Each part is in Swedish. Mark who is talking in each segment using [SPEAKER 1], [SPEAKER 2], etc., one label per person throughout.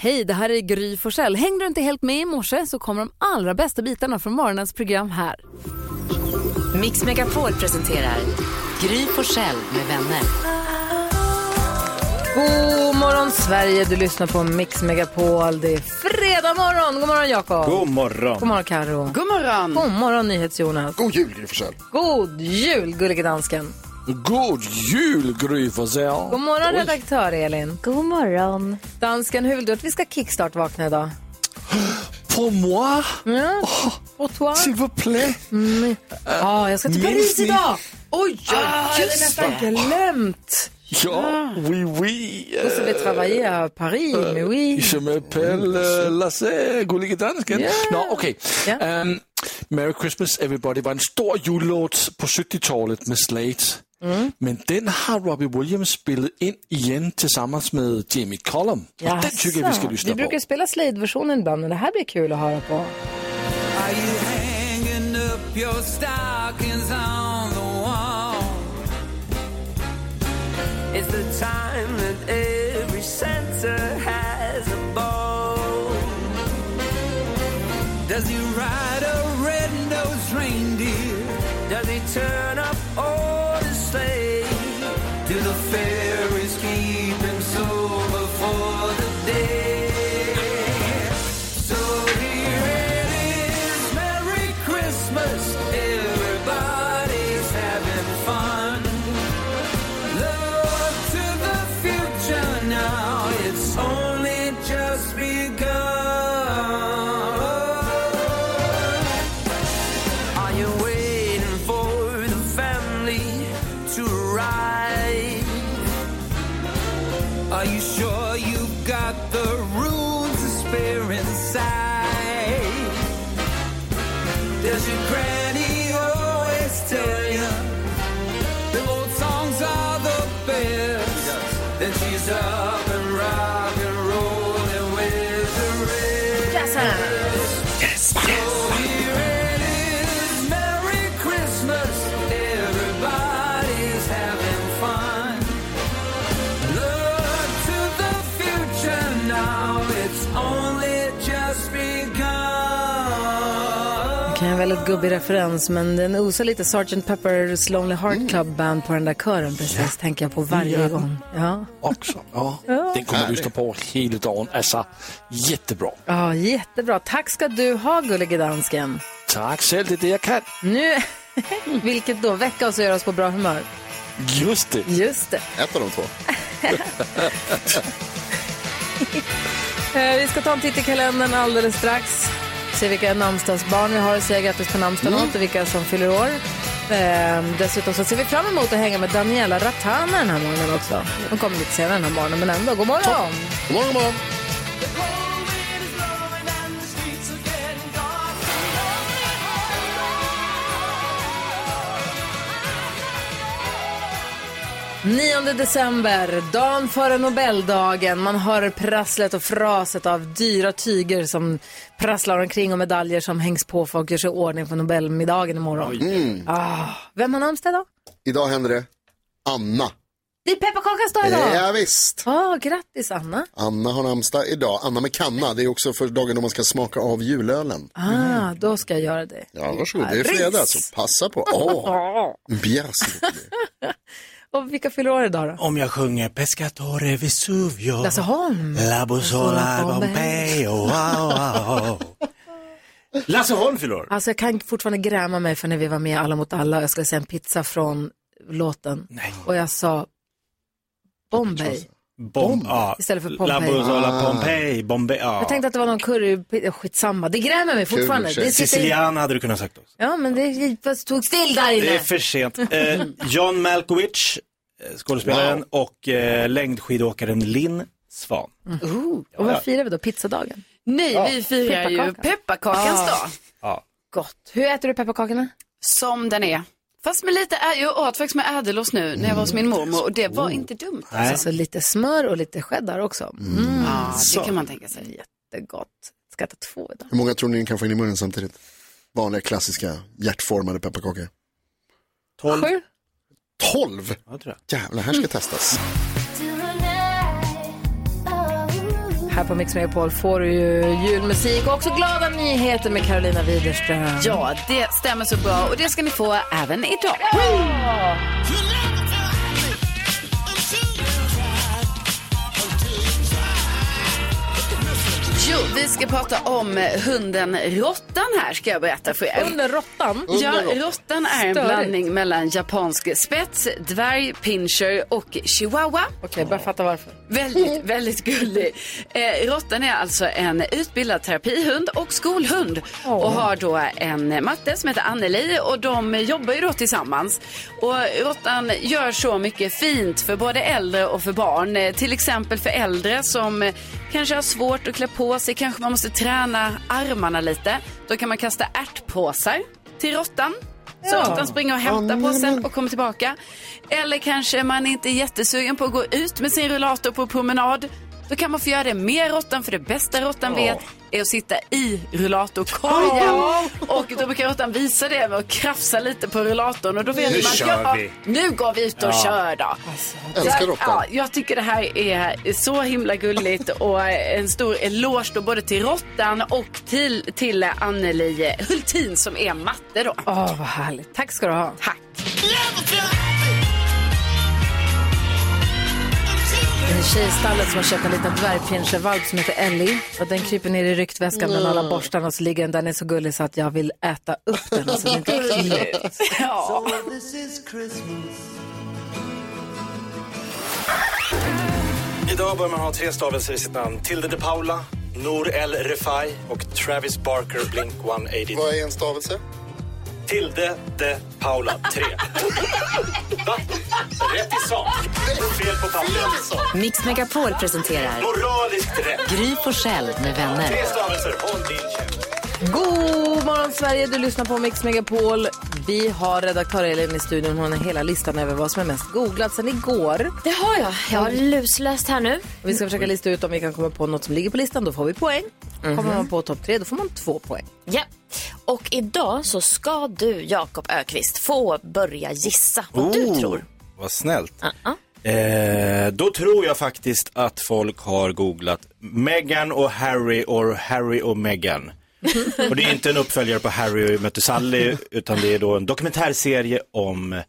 [SPEAKER 1] Hej, det här är Gry Forssell. Hängde du inte helt med i morse så kommer de allra bästa bitarna från morgonens program här.
[SPEAKER 2] Mix Megapol presenterar Gry Forssell med vänner.
[SPEAKER 1] God morgon Sverige, du lyssnar på Mix Megapol. Det är fredag morgon. God morgon Jakob.
[SPEAKER 3] God morgon.
[SPEAKER 1] God morgon Karo. God morgon. God morgon NyhetsJonas.
[SPEAKER 4] God jul, Gry Forssell.
[SPEAKER 1] God jul gullige dansken.
[SPEAKER 4] God jul, Gry Forssell.
[SPEAKER 1] God morgon redaktör Elin.
[SPEAKER 5] God morgon.
[SPEAKER 1] Dansken, hur vill du att vi ska kickstart-vakna idag?
[SPEAKER 4] Pour moi,
[SPEAKER 1] Ja. Och toi? Mm.
[SPEAKER 4] s'il vous plaît.
[SPEAKER 6] Ah,
[SPEAKER 1] Ja, jag ska till
[SPEAKER 4] minns
[SPEAKER 1] Paris
[SPEAKER 4] ni-
[SPEAKER 1] idag. Oj, ja, jag hade Ah, nästan glömt. Ah.
[SPEAKER 4] Ja, oui, oui. Eh,
[SPEAKER 1] Vous savez travailler à Paris, mais oui.
[SPEAKER 4] Je m'appelle eh, Lasse, gullige dansken.
[SPEAKER 1] Ja.
[SPEAKER 4] Nå, okay.
[SPEAKER 1] Ja.
[SPEAKER 4] Ehm, Merry Christmas everybody var en stor jullåt på 70-talet med Slate.
[SPEAKER 1] Mm.
[SPEAKER 4] Men den har Robbie Williams spelat in igen tillsammans med Jamie Cullum. Och den tycker jag vi ska
[SPEAKER 1] Jaså.
[SPEAKER 4] lyssna
[SPEAKER 1] Vi
[SPEAKER 4] på.
[SPEAKER 1] brukar spela Slade-versionen ibland, men det här blir kul att höra på.
[SPEAKER 7] Are you hanging up your stockings on the wall? It's the time that every center has a ball. Does he ride a red-nosed reindeer? Does he turn up all his sleigh? Do the fairies keep him sober for the day? So here it is, Merry Christmas. Everybody's having fun. Look to the future now, it's only just begun. Are you waiting for the family to arrive? Are you sure you've got the room to spare inside? Does your granny always tell you the old songs are the best? Then she's up and rock and rolling with the rest. Yes, So here it is, Merry Christmas. Everybody's having fun. Look to the future now, it's only just begun.
[SPEAKER 1] Kan jag väl ett gubbig referens, men den osar lite Sgt. Pepper's Lonely Heart Club Band på den där kören precis, tänker jag på varje
[SPEAKER 4] Mm. Ja.
[SPEAKER 1] gång. Ja,
[SPEAKER 4] Också. Ja. Den kommer vi lyssna på hela dagen. Alltså, jättebra.
[SPEAKER 1] ja jättebra. Tack ska du ha, gullige dansken.
[SPEAKER 4] Tack själv, det är det jag kan.
[SPEAKER 1] Nu, vilket då, väcka oss och göra oss på bra humör.
[SPEAKER 4] Just det.
[SPEAKER 1] Just det.
[SPEAKER 3] Ett av de två.
[SPEAKER 1] Eh, Vi ska ta en titt i kalendern alldeles strax. Se vilka namnsdagsbarn vi har och säga grattis på namnsdagen
[SPEAKER 3] Mm.
[SPEAKER 1] åt och vilka som fyller år. Eh, Dessutom så ser vi fram emot att hänga med Daniela Ratana den här morgonen också. Hon kommer lite senare den här morgonen, men ändå, god morgon!
[SPEAKER 3] God morgon, god morgon.
[SPEAKER 1] Nionde december, dagen före Nobeldagen. Man hör prasslet och fraset av dyra tyger som prasslar omkring och medaljer som hängs på. Folk gör sig i ordning för Nobelmiddagen imorgon. Ah, vem har namnsdag då?
[SPEAKER 3] Mm. Idag händer det. Anna.
[SPEAKER 1] Det är pepparkakans dag idag!
[SPEAKER 3] Ja, visst.
[SPEAKER 1] Ah, grattis Anna!
[SPEAKER 3] Anna har namnsdag idag. Anna med kanna. Det är också för dagen då man ska smaka av julölen.
[SPEAKER 1] Ah, då ska jag göra det.
[SPEAKER 3] Mm. Ja, varsågod. Det är
[SPEAKER 1] Paris.
[SPEAKER 3] fredag, så passa på. Åh, bjärs.
[SPEAKER 1] Och vilka fyller år idag då? Alltså,
[SPEAKER 8] Om jag sjunger Pescatore Vesuvio,
[SPEAKER 1] Lasse Holm.
[SPEAKER 8] La Bussola Pompeo, wow, wow. Lasse Holm fyller år.
[SPEAKER 1] Alltså jag kan fortfarande gräma mig för när vi var med i Alla mot alla och jag skulle säga en pizza från låten. Och jag sa Bombay
[SPEAKER 8] Bom, ja.
[SPEAKER 1] istället för
[SPEAKER 8] La
[SPEAKER 1] Pompeji.
[SPEAKER 8] Bussola Pompei, Bombay, ja.
[SPEAKER 1] Jag tänkte att det var någon curry, oh, skitsamma. Det grämer mig fortfarande.
[SPEAKER 3] i och för sig.
[SPEAKER 1] Det sitter... i-
[SPEAKER 8] Siciliana hade du kunnat sagt också.
[SPEAKER 1] Ja, men det det stod still där
[SPEAKER 8] Det är
[SPEAKER 1] inne.
[SPEAKER 8] för sent. Eh, John Malkovich, eh, skådespelaren, och eh, längdskidåkaren Linn Svan.
[SPEAKER 1] Ooh. Mm. Och vad firar vi då? Pizzadagen?
[SPEAKER 9] Nej, vi firar ju
[SPEAKER 1] Pepparkaka.
[SPEAKER 9] pepparkakans
[SPEAKER 1] Ah.
[SPEAKER 9] dag.
[SPEAKER 1] Gott. Hur äter du pepparkakorna?
[SPEAKER 9] Som den är. Fast med lite, ä- jag åt faktiskt med ädelost nu när jag var hos min mormor och det var inte dumt.
[SPEAKER 8] Nej.
[SPEAKER 1] Alltså lite smör och lite cheddar också. Mm.
[SPEAKER 9] Ja, det kan man tänka sig.
[SPEAKER 1] Jättegott. Ska äta två idag.
[SPEAKER 3] Hur många tror ni ni kan få in i munnen samtidigt? Vanliga klassiska hjärtformade pepparkakor.
[SPEAKER 8] Tolv.
[SPEAKER 1] Sju?
[SPEAKER 3] Tolv!
[SPEAKER 8] Ja, tror jag.
[SPEAKER 3] Jävlar, här ska testas.
[SPEAKER 1] Här på Mix Megapol får du ju julmusik och också glada nyheter med Carolina Widerström.
[SPEAKER 9] Ja, det stämmer så bra och det ska ni få även idag. Jo, vi ska prata om eh, hunden Råttan här, ska jag berätta för er.
[SPEAKER 1] Under råttan.
[SPEAKER 9] Ja, råttan är en
[SPEAKER 1] Störigt.
[SPEAKER 9] blandning mellan japansk spets, dvärg, pinscher och chihuahua.
[SPEAKER 1] Okej, börja fatta varför.
[SPEAKER 9] Väldigt, väldigt gullig. Eh, råttan är alltså en utbildad terapihund och skolhund och har då en matte som heter Anneli och de jobbar ju då tillsammans. Och råttan gör så mycket fint för både äldre och för barn. Eh, till exempel för äldre som eh, kanske har svårt att klä på sig, kanske man måste träna armarna lite. Då kan man kasta ärtpåsar till råttan. Så att han springer och hämtar påsen och kommer tillbaka. Eller kanske man inte är jättesugen på att gå ut med sin rullator på promenad. Då kan man få göra det med råttan, för det bästa råttan vet är att sitta i rullatorkorgen. Och då brukar råttan visa det med att krafsa lite på rullatorn. Och då vet
[SPEAKER 3] Nu
[SPEAKER 9] man,
[SPEAKER 8] kör
[SPEAKER 9] ja,
[SPEAKER 8] vi."
[SPEAKER 9] nu går vi ut och kör då.
[SPEAKER 1] Alltså.
[SPEAKER 3] Älskar
[SPEAKER 9] Jag-
[SPEAKER 3] råttan.
[SPEAKER 9] Ja, jag tycker det här är så himla gulligt och en stor eloge då både till råttan och till, till Anneli Hultin som är matte då.
[SPEAKER 1] Åh, vad härligt. Tack ska du ha.
[SPEAKER 9] Tack!
[SPEAKER 1] Det är Tjejstallet som har köpt en liten dvärgpinschervalp som heter Ellie. Och den kryper ner i ryktväskan bland
[SPEAKER 9] Mm.
[SPEAKER 1] alla borstarna och så ligger den där. Den är så gullig så att jag vill äta upp den. Alltså, det är inte äckligt.
[SPEAKER 9] Ja.
[SPEAKER 8] Idag bör man ha tre stavelser i sitt namn. Tilde de Paula, Nour El Refai och Travis Barker Blink 182.
[SPEAKER 3] Vad är en stavelse?
[SPEAKER 8] Tilde de Paula 3. Va? Rätt i sak. Fel på pappret.
[SPEAKER 10] Mix Megapol presenterar
[SPEAKER 8] Moraliskt rätt.
[SPEAKER 10] Gry Forssell med vänner.
[SPEAKER 8] Tre stavelser. Håll din käft.
[SPEAKER 1] God morgon Sverige, du lyssnar på Mix Megapol. Vi har redaktör Elin i studion. Hon har hela listan över vad som är mest googlat sedan igår.
[SPEAKER 2] Det har jag. Jag har lusläst här nu.
[SPEAKER 1] Och vi ska försöka lista ut om vi kan komma på något som ligger på listan. Då får vi poäng.
[SPEAKER 2] Mhm.
[SPEAKER 1] Kommer man på topp tre, då får man två poäng.
[SPEAKER 2] Ja. Och idag så ska du, Jakob Ökvist få börja gissa vad du tror.
[SPEAKER 8] Oh, Vad snällt. Eh, då tror jag faktiskt att folk har googlat Meghan och Harry och Harry och Meghan. och det är inte en uppföljare på Harry mötte Sally utan det är då en dokumentärserie om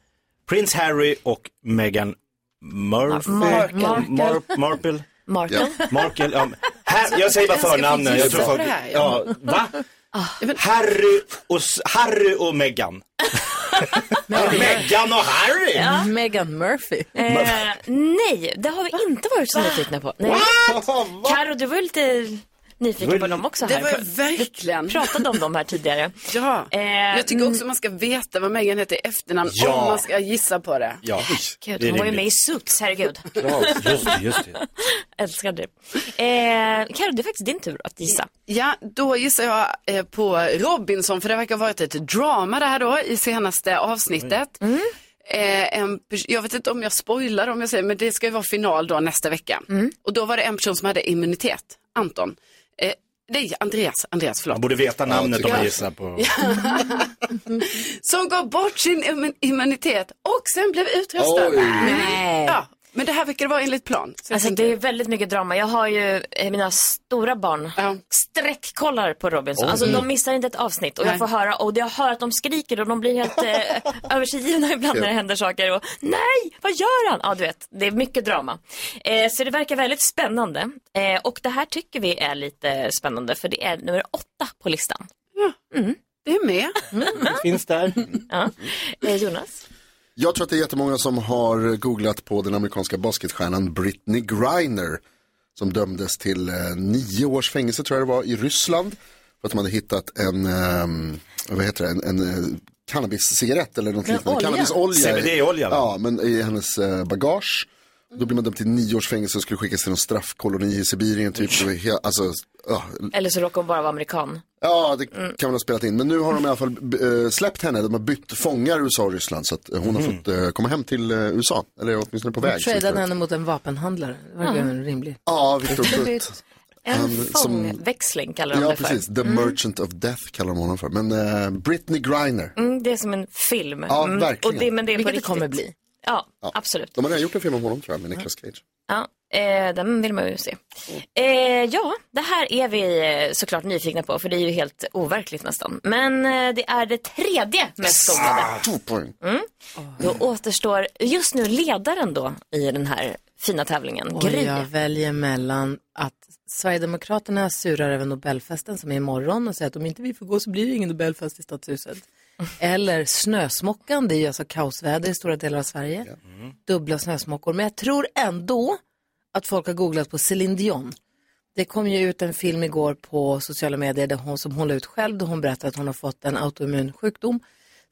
[SPEAKER 8] Prins Harry och Meghan Murphy.
[SPEAKER 2] Markle.
[SPEAKER 8] Mar- Marple.
[SPEAKER 2] Marken.
[SPEAKER 8] Markle. Ja. Här, jag säger bara
[SPEAKER 9] Jag ska
[SPEAKER 8] förnamnen.
[SPEAKER 9] få
[SPEAKER 8] Jag tror
[SPEAKER 9] gissa på
[SPEAKER 8] folk,
[SPEAKER 9] det här,
[SPEAKER 8] ja, va? Harry och, s- Harry och Meghan. Meghan och Harry!
[SPEAKER 1] Megan Murphy.
[SPEAKER 2] Eh, nej, det har vi inte varit så nyfikna på. Nej. Karo, du var ju lite
[SPEAKER 8] Det
[SPEAKER 2] nyfiken
[SPEAKER 8] var
[SPEAKER 2] på
[SPEAKER 8] ju-
[SPEAKER 2] dem också
[SPEAKER 9] Det
[SPEAKER 2] här.
[SPEAKER 9] var
[SPEAKER 2] Vi
[SPEAKER 9] verkligen.
[SPEAKER 2] pratade om dem här tidigare.
[SPEAKER 9] Ja.
[SPEAKER 2] Eh,
[SPEAKER 9] Jag tycker
[SPEAKER 1] Mm.
[SPEAKER 9] också man ska veta vad Megan heter i efternamn
[SPEAKER 8] Ja.
[SPEAKER 9] om man ska gissa på det.
[SPEAKER 8] Ja,
[SPEAKER 2] Gud,
[SPEAKER 8] det är
[SPEAKER 2] hon var ju
[SPEAKER 8] rimligt.
[SPEAKER 2] med i Suits, herregud.
[SPEAKER 8] Just det, just det.
[SPEAKER 2] Älskar du. Eh, Karo, det är faktiskt din tur att gissa.
[SPEAKER 9] Ja, då gissar jag eh, på Robinson, för det verkar ha varit ett drama det här då i senaste avsnittet.
[SPEAKER 2] Mm.
[SPEAKER 9] Eh, en pers- jag vet inte om jag spoilar om jag säger, men det ska ju vara final då nästa vecka.
[SPEAKER 2] Mm.
[SPEAKER 9] Och då var det en person som hade immunitet, Anton. Eh, nej, Andreas, Andreas, förlåt.
[SPEAKER 8] Man borde veta namnet om
[SPEAKER 3] tycker
[SPEAKER 8] man
[SPEAKER 3] jag.
[SPEAKER 8] gissar på.
[SPEAKER 9] Som gav bort sin immun- immunitet och sen blev utröstad.
[SPEAKER 2] Nej.
[SPEAKER 9] Ja, men det här verkar vara enligt plan. Så jag
[SPEAKER 2] Alltså
[SPEAKER 9] tänker-
[SPEAKER 2] det är väldigt mycket drama. Jag har ju eh, mina stora barn
[SPEAKER 9] Ja.
[SPEAKER 2] sträckkollar på Robinson. Alltså
[SPEAKER 3] Mm.
[SPEAKER 2] de missar inte ett avsnitt och
[SPEAKER 9] Nej.
[SPEAKER 2] jag får höra och jag hör att de skriker och de blir helt eh, över sig givna ibland när det händer saker och nej, vad gör han? Ja, du vet, det är mycket drama. Eh, så det verkar väldigt spännande eh, och det här tycker vi är lite spännande för det är nummer åtta på listan.
[SPEAKER 9] Det är med.
[SPEAKER 2] Mm.
[SPEAKER 8] Finns där.
[SPEAKER 2] Ja. Eh, Jonas?
[SPEAKER 3] Jag tror att det är jättemånga som har googlat på den amerikanska basketstjärnan Britney Griner. Som dömdes till eh, nio års fängelse tror jag det var i Ryssland. För att de hade hittat en, ehm, vad heter det, en, en eh, cannabiscigarett eller något liknande. Cannabisolja. i-
[SPEAKER 8] CBD-olja, va?
[SPEAKER 3] Ja, men i hennes eh, bagage. Då blev man dömd till nio års fängelse och skulle skickas till någon straffkoloni i Sibirien. Typ. Det var he- Alltså, ah,
[SPEAKER 2] Eller så råkar hon bara vara amerikan.
[SPEAKER 3] Ja, det kan väl ha spelat in. Men nu har de i alla fall b- eh, släppt henne. De har bytt fångar USA och Ryssland. Så att eh, hon har fått eh, komma hem till eh, USA. Eller åtminstone på väg.
[SPEAKER 1] Tradade henne mot en vapenhandlare. Det var mm. rimligt.
[SPEAKER 3] Ja, Victor Butt. som-
[SPEAKER 2] En fångväxling kallar de
[SPEAKER 3] Ja,
[SPEAKER 2] det för. Mm.
[SPEAKER 3] precis. The Merchant of Death kallar de honom för. Men eh, Britney Griner.
[SPEAKER 2] Mm, det är som en film.
[SPEAKER 3] Ja,
[SPEAKER 2] Mm,
[SPEAKER 3] verkligen.
[SPEAKER 2] Och det, men det är på
[SPEAKER 1] Vilket det
[SPEAKER 2] riktigt.
[SPEAKER 1] kommer bli.
[SPEAKER 2] Ja, absolut.
[SPEAKER 3] De har redan gjort en film om honom tror jag, med Nicolas Cage.
[SPEAKER 2] Ja. Eh, den vill man ju se. Eh, ja, det här är vi eh, såklart nyfikna på för det är ju helt overkligt nästan. Men eh, det är det tredje mest googlade.
[SPEAKER 3] Två poäng.
[SPEAKER 2] Då återstår just nu ledaren då i den här fina tävlingen,
[SPEAKER 1] Och
[SPEAKER 2] Gry.
[SPEAKER 1] jag väljer mellan att Sverigedemokraterna surar över Nobelfesten som är imorgon och säger att om inte vi får gå så blir det ingen Nobelfest i Stadshuset. Eller snösmockan, det är ju alltså kaosväder i stora delar av Sverige.
[SPEAKER 3] Mm.
[SPEAKER 1] Dubbla snösmockor. Men jag tror ändå att folk har googlat på Céline Dion. Det kom ju ut en film igår på sociala medier där hon, som hon la ut själv där hon berättar att hon har fått en autoimmun sjukdom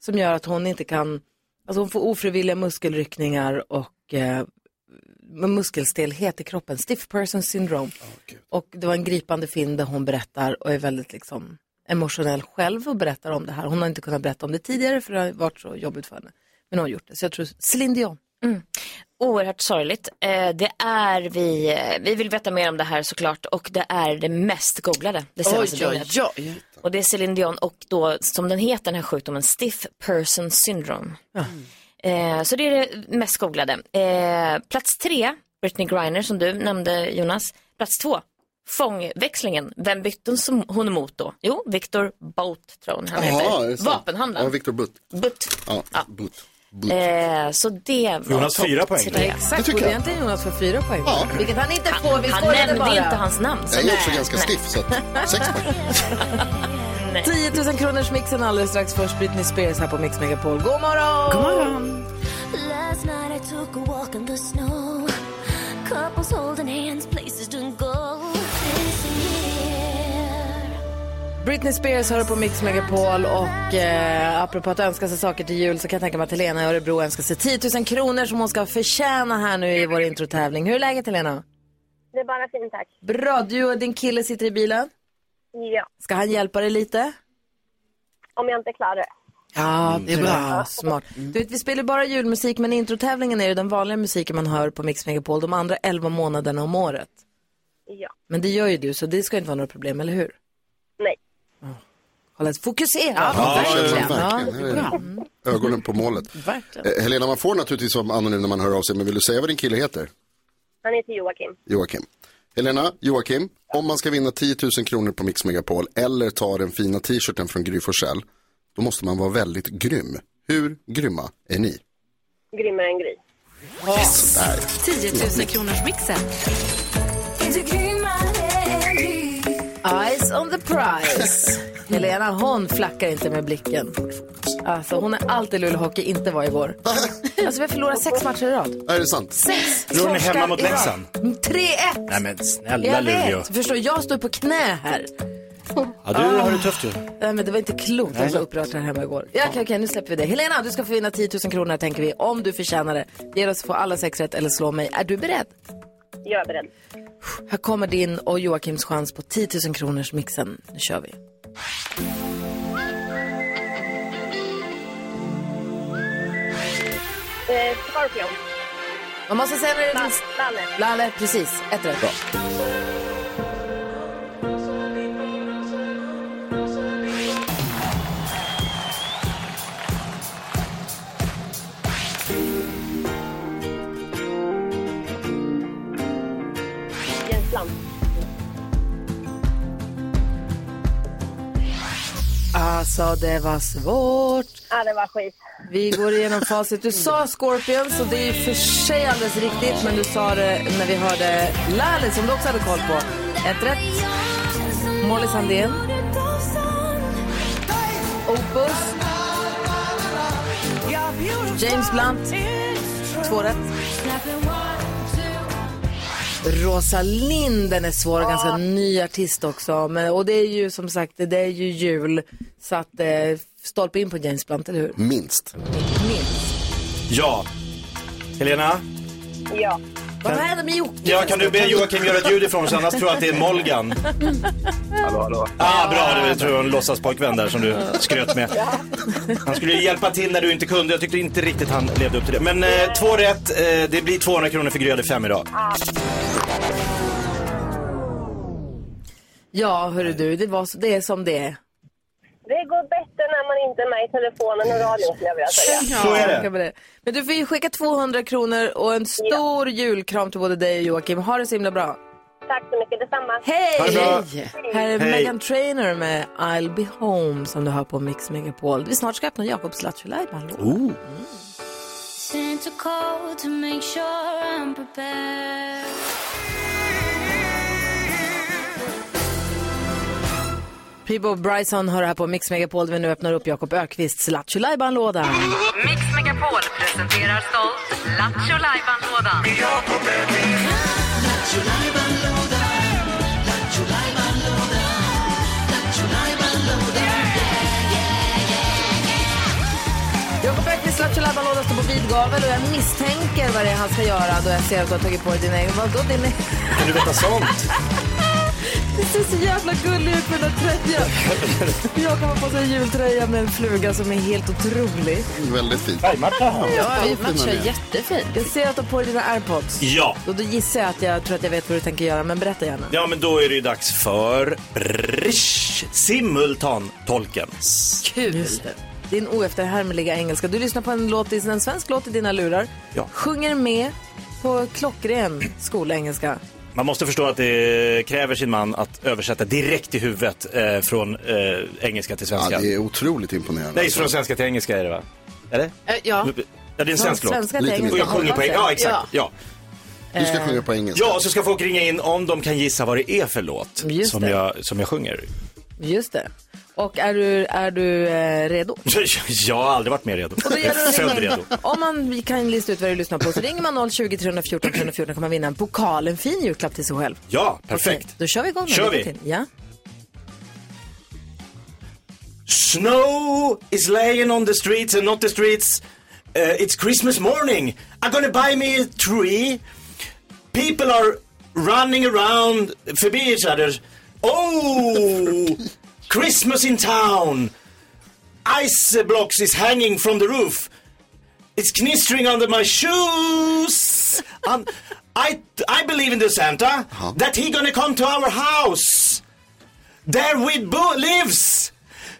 [SPEAKER 1] som gör att hon inte kan, alltså hon får ofrivilliga muskelryckningar och eh, med muskelstelhet i kroppen, stiff person syndrome. och det var en gripande film där hon berättar och är väldigt liksom emotionell själv och berättar om det här. Hon har inte kunnat berätta om det tidigare för det har varit så jobbigt för henne. Men hon har gjort det, så jag tror Céline Dion.
[SPEAKER 2] Oerhört sorgligt. Eh, det är vi, eh, vi vill veta mer om det här såklart och det är det mest googlade det senaste
[SPEAKER 9] Oj, oj,
[SPEAKER 2] dygnet.
[SPEAKER 9] oj.
[SPEAKER 2] Och det är Céline Dion och då, som den heter, den här sjukdomen, Stiff Person Syndrome.
[SPEAKER 1] Mm.
[SPEAKER 2] Eh, så det är det mest googlade. Eh, plats tre, Britney Griner som du nämnde Jonas. Plats två, fångväxlingen. Vem bytte hon som- hon emot då? Jo, Victor Bout tror hon han
[SPEAKER 3] Jaha, är det
[SPEAKER 2] heter.
[SPEAKER 3] sant? Ja,
[SPEAKER 2] Vapenhandlaren.
[SPEAKER 3] Viktor Butt.
[SPEAKER 2] Butt.
[SPEAKER 3] Ja, Butt. Butt.
[SPEAKER 2] Eh, så det var
[SPEAKER 8] Jonas,
[SPEAKER 2] topp
[SPEAKER 8] fyra poäng.
[SPEAKER 2] tre.
[SPEAKER 3] Det
[SPEAKER 1] Exakt,
[SPEAKER 3] tycker
[SPEAKER 1] borde
[SPEAKER 3] jag.
[SPEAKER 1] egentligen Jonas få fyra poäng.
[SPEAKER 3] Ja.
[SPEAKER 1] Vilket han inte får, vi
[SPEAKER 2] Han
[SPEAKER 1] skojade
[SPEAKER 2] nämnde
[SPEAKER 1] bara.
[SPEAKER 2] inte hans namn. Så
[SPEAKER 3] Jag är
[SPEAKER 2] nej,
[SPEAKER 3] också ganska
[SPEAKER 2] nej.
[SPEAKER 3] stiff så att sex poäng.
[SPEAKER 1] 10 000 kronors mixen alldeles strax. Först Britney Spears här på Mix Megapol. God morgon! God morgon!
[SPEAKER 11] Last night I took a walk in the snow. Couples holding hands, places don't go.
[SPEAKER 1] Britney Spears hör på Mix Megapol och eh, apropå att önska sig saker till jul så kan jag tänka mig att Helena i Örebro önskar sig 10 000 kronor som hon ska förtjäna här nu i vår introtävling. Hur är läget Helena?
[SPEAKER 12] Det är bara fint tack.
[SPEAKER 1] Bra, du och din kille sitter i bilen.
[SPEAKER 12] Ja,
[SPEAKER 1] Ska han hjälpa dig lite?
[SPEAKER 12] om jag inte klarar det.
[SPEAKER 3] Mm,
[SPEAKER 1] Ja, det är bra. Smart. Du vet, vi spelar bara julmusik men introtävlingen är ju den vanliga musiken man hör på Mix Megapol de andra 11 månaderna om året.
[SPEAKER 12] Ja.
[SPEAKER 1] Men det gör ju du så det ska inte vara några problem, eller hur?
[SPEAKER 12] Nej.
[SPEAKER 1] Hålla fokusera.
[SPEAKER 8] Ja,
[SPEAKER 3] Verkligen.
[SPEAKER 9] Verkligen.
[SPEAKER 3] Här är det. Ögonen på målet.
[SPEAKER 9] Verkligen.
[SPEAKER 3] Eh, Helena, man får naturligtvis vara anonym när man hör av sig, men vill du säga vad din kille heter?
[SPEAKER 12] Han heter Joakim.
[SPEAKER 3] Joakim. Helena, Joakim, om man ska vinna 10 000 kronor på Mix Megapol eller ta den fina t-shirten från Gry Forssell, då måste man vara väldigt grym. Hur grymma är ni?
[SPEAKER 12] Grymmare än Gry.
[SPEAKER 10] 10 000 kronors mixen.
[SPEAKER 1] Eyes on the prize. Helena, hon flackar inte med blicken. Alltså, hon är alltid Lulehockey, inte var i vår. Alltså, vi har förlorat sex matcher i rad.
[SPEAKER 3] Är det sant?
[SPEAKER 1] Sex!
[SPEAKER 8] Tror ni
[SPEAKER 1] torskar
[SPEAKER 8] hemma mot
[SPEAKER 1] i rad.
[SPEAKER 8] Leksand?
[SPEAKER 1] 3-1!
[SPEAKER 8] Nej men snälla
[SPEAKER 1] Jag
[SPEAKER 8] Luleå.
[SPEAKER 1] vet, förstår jag står på knä här. Ah.
[SPEAKER 8] Ja, du har det tufft ju.
[SPEAKER 1] Nej, men det var inte klokt, jag var så upprörd här hemma igår. Ja, okej, okej, nu släpper vi det. Helena, du ska få vinna 10 000 kronor tänker vi, om du förtjänar det. Det gäller att få alla sex rätt eller slå mig. Är du beredd?
[SPEAKER 12] Jag är beredd.
[SPEAKER 1] Här kommer din och Joakims chans på 10 000 kronors mixen. Nu kör vi.
[SPEAKER 12] Eh, Scorpion.
[SPEAKER 1] Man måste säga när det är
[SPEAKER 12] Lalle. Lalle.
[SPEAKER 1] Lalle, precis. Ett rätt. Bra.
[SPEAKER 12] Jens Lantz.
[SPEAKER 1] Alltså, det var svårt.
[SPEAKER 12] Ja, det var skit.
[SPEAKER 1] Vi går igenom facit. Du sa Scorpions och det är ju för sig alldeles riktigt, men du sa det när vi hörde Lalle som du också hade koll på. Ett rätt. Molly Sandén, Opus, James Blunt, två rätt. Rosalind, den är svår, ganska ny artist också. Men, och det är ju som sagt, det är ju jul. Så att eh, stolpe in på James Blunt, eller hur?
[SPEAKER 3] Minst.
[SPEAKER 1] Minst.
[SPEAKER 8] Ja. Helena?
[SPEAKER 12] Ja.
[SPEAKER 1] Vad händer med Jocke?
[SPEAKER 8] Ja, kan du be Joakim göra ett ljud ifrån sig annars tror jag att det är Molgan.
[SPEAKER 13] Hallå, hallå.
[SPEAKER 8] Ah, bra, det tror jag en låtsaspojkvän där som du skröt med. Han skulle ju hjälpa till när du inte kunde. Jag tyckte inte riktigt han levde upp till det. Men eh, två rätt. Eh, det blir 200 kronor för Gry hade fem idag.
[SPEAKER 1] Ja, hörru du, det, var, så- det är som det är.
[SPEAKER 12] Det går bättre när man inte är med i telefonen och radion skulle jag vilja säga.
[SPEAKER 1] tackar för det. Men du får ju skicka 200 kronor och en stor julkram till både dig och Joakim. Ha det så himla bra.
[SPEAKER 12] Tack så mycket, detsamma.
[SPEAKER 1] Hej!
[SPEAKER 12] Ha det bra.
[SPEAKER 1] Här är
[SPEAKER 12] Hej.
[SPEAKER 1] Megan Trainor med I'll be home som du hör på Mix Megapol. Vi snart ska öppna Jakobs Lattjo Live. Hallå.
[SPEAKER 11] Sent a call to make sure I'm prepared.
[SPEAKER 1] Peebo Bryson hör här på Mix Megapol där vi nu öppnar upp Jakob Ökvists Lattjo Lajban-låda.
[SPEAKER 10] Mix Megapol presenterar stolt Lattjo Lajban-lådan.
[SPEAKER 1] Jakob Ökvists Lattjo Lajban-låda står på vid gavel och jag misstänker vad det är han ska göra då jag ser att du har tagit på dig din egen. Vadå din egen?
[SPEAKER 8] Kan du veta sånt?
[SPEAKER 1] Det ser så jävla gullig ut med den här tröjan. Jag kommer på sig en jultröja med en fluga som är helt otrolig.
[SPEAKER 3] Väldigt fint.
[SPEAKER 1] Ja, vi matchar
[SPEAKER 3] Fina med.
[SPEAKER 1] jättefint. Jag ser att du har på dig dina airpods.
[SPEAKER 8] Ja.
[SPEAKER 1] Och då gissar jag att jag tror att jag vet vad du tänker göra, men berätta gärna.
[SPEAKER 8] Ja, men då är det ju dags för brrrsch, simultantolken.
[SPEAKER 1] Kul! Din oefterhärmliga engelska. Du lyssnar på en, låt, en svensk låt i dina lurar.
[SPEAKER 8] Ja.
[SPEAKER 1] Sjunger med på klockren skolengelska.
[SPEAKER 8] Man måste förstå att det kräver sin man att översätta direkt i huvudet eh, från eh, engelska till svenska.
[SPEAKER 3] Ja, alltså. det är otroligt imponerande.
[SPEAKER 8] Nej, från svenska till engelska är det va? Eller?
[SPEAKER 9] Ja.
[SPEAKER 8] Ja, det är en svensk
[SPEAKER 3] Från
[SPEAKER 8] låt.
[SPEAKER 3] svenska till Lite engelska.
[SPEAKER 8] Och jag sjunger på engelska. Ja,
[SPEAKER 3] Ja.
[SPEAKER 8] exakt. Ja.
[SPEAKER 3] Du ska sjunga på engelska.
[SPEAKER 8] Ja, så ska folk ringa in om de kan gissa vad det är för låt
[SPEAKER 1] Just
[SPEAKER 8] som
[SPEAKER 1] det.
[SPEAKER 8] jag, som jag sjunger.
[SPEAKER 1] Just det. Och är du, är du eh, redo?
[SPEAKER 8] Jag har aldrig varit mer redo. Jag är född redo.
[SPEAKER 1] Om man kan lista ut vad du lyssnar på så ringer man 020 314 314 kan man vinna en pokal, en fin julklapp till sig själv.
[SPEAKER 8] Ja, perfekt.
[SPEAKER 1] Då kör vi igång. nu.
[SPEAKER 8] Kör
[SPEAKER 1] Lycka
[SPEAKER 8] vi.
[SPEAKER 1] till. Ja.
[SPEAKER 8] Snow is laying on the streets and not the streets. Uh, it's Christmas morning. I'm gonna buy me a tree. People are running around förbi each other. Oh! Christmas in town. Ice blocks is hanging from the roof. It's knistering under my shoes. Um, I, I believe in the Santa. That he gonna come to our house. There with Boo lives.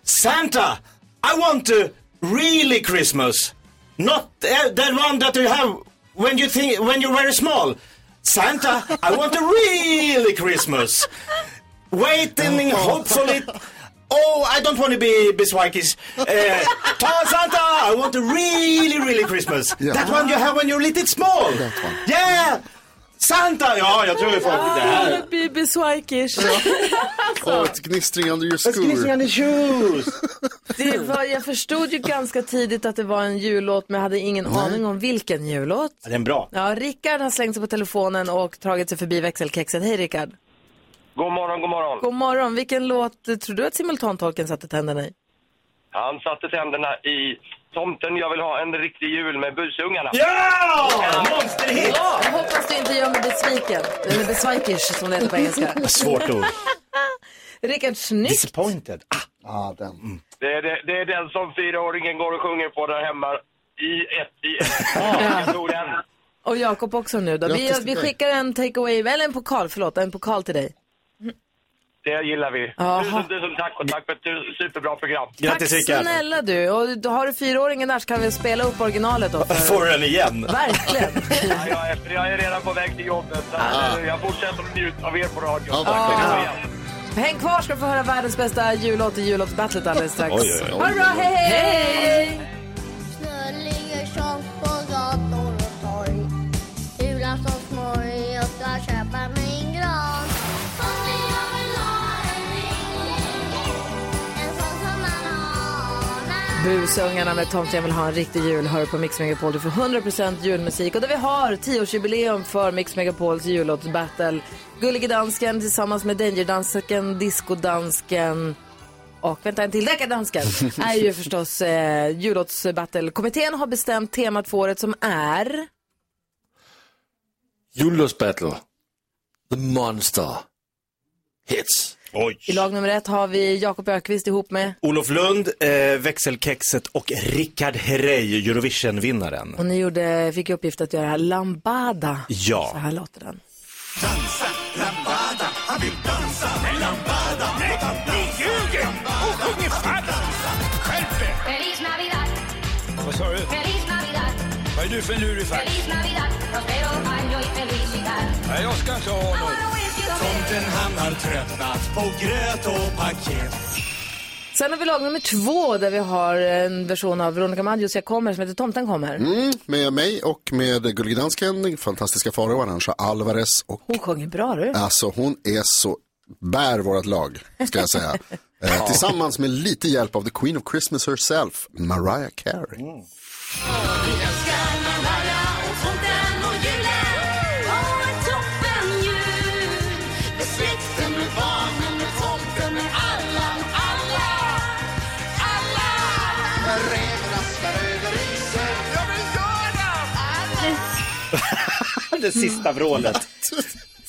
[SPEAKER 8] Santa, I want a really Christmas. Not uh, that one that you have when you think when you're very small. Santa, I want a really Christmas. Waiting, hopefully. Oh, I don't want to be Biswikis. Uh, Ta- Santa, I want a really, really Christmas. That one you have when you're a little small. Yeah! Santa! Ja, jag tror ju folk... Det här...
[SPEAKER 1] Bibi Swikish. Alltså.
[SPEAKER 3] Åh, ett gnistring under your
[SPEAKER 8] Squeezing
[SPEAKER 3] school.
[SPEAKER 8] on the shoes.
[SPEAKER 1] Det var, jag förstod ju ganska tidigt att det var en jullåt men jag hade ingen aning om vilken jullåt.
[SPEAKER 8] Ja, Den är bra.
[SPEAKER 1] Ja, Rickard har slängt sig på telefonen och tagit sig förbi växelkexet. Hej Rickard!
[SPEAKER 14] God morgon, god morgon.
[SPEAKER 1] God morgon! Vilken låt tror du att simultantolken satte tänderna i?
[SPEAKER 14] Han satte tänderna i tomten. Jag vill ha en riktig jul med busungarna.
[SPEAKER 8] Ja!
[SPEAKER 14] Monsterhit!
[SPEAKER 1] Ja, jag hoppas du inte gör mig besviken. Eller besvikish som det heter på engelska.
[SPEAKER 8] Svårt ord.
[SPEAKER 1] Rickard, snyggt!
[SPEAKER 8] Disappointed.
[SPEAKER 3] Ah,
[SPEAKER 8] Mm.
[SPEAKER 3] den.
[SPEAKER 14] Det är, det, det är den som fyraåringen går och sjunger på där hemma. I ett, i ett. Jag tog den.
[SPEAKER 1] Och Jakob också nu då. Vi,
[SPEAKER 14] Grattis till
[SPEAKER 1] vi
[SPEAKER 14] dig.
[SPEAKER 1] skickar en takeaway, eller en pokal, förlåt, en pokal till dig.
[SPEAKER 14] Det gillar vi.
[SPEAKER 1] Jaha.
[SPEAKER 14] Tusen, tusen tack och tack för ett tu- superbra program.
[SPEAKER 1] Tack snälla du! Och då har du fyraåringen där så kan vi spela upp originalet då. för-
[SPEAKER 8] Får du den igen?
[SPEAKER 1] Verkligen!
[SPEAKER 14] Ja, jag, är, jag är redan på väg till jobbet. Så
[SPEAKER 1] Ah.
[SPEAKER 14] Jag fortsätter att njuta av er på radion.
[SPEAKER 1] Ja, verkligen. Häng kvar ska du få höra världens bästa jullåt i jullåtsbattlet alldeles strax.
[SPEAKER 13] Oj, oj, oj.
[SPEAKER 1] Ha det bra, hej, hej! Busungarna med Tomten jag vill ha en riktig jul hör på Mix Megapol. Du får 100% julmusik och där vi har 10-årsjubileum för Mix Megapols jullåtsbattle. Gullige dansken tillsammans med Danger-dansken, Disco-dansken och vänta en till, Deckardansken är ju förstås eh, jullåtsbattle-kommittén har bestämt temat för året som är
[SPEAKER 4] Jullås battle. The monster. Hits.
[SPEAKER 8] Oj.
[SPEAKER 1] i lag nummer ett har vi Jakob Ökvist ihop med
[SPEAKER 8] Olof Lund, eh, växelkexet och Rickard Herrey, Eurovision-vinnaren.
[SPEAKER 1] och ni gjorde, fick i uppgift att göra Lambada.
[SPEAKER 8] Ja.
[SPEAKER 1] Så här låter den.
[SPEAKER 13] Han vill dansa med Lambada. Nej, ni ljuger och sjunger falskt.
[SPEAKER 15] är du för lurifax? Nej, jag ska inte ha något. Tomten han har tröttnat på gröt och paket.
[SPEAKER 1] Sen har vi lag nummer två där vi har en version av Veronica Maggios Jag kommer som heter Tomten kommer.
[SPEAKER 3] Mm, med mig och med Gullige Dansken, den fantastiska Farao, Arantxa Alvarez och
[SPEAKER 1] Hon sjunger bra du.
[SPEAKER 3] Alltså hon är så, bär vårt lag, ska jag säga. eh, tillsammans med lite hjälp av the Queen of Christmas herself, Mariah Carey.
[SPEAKER 8] Det sista vrålet.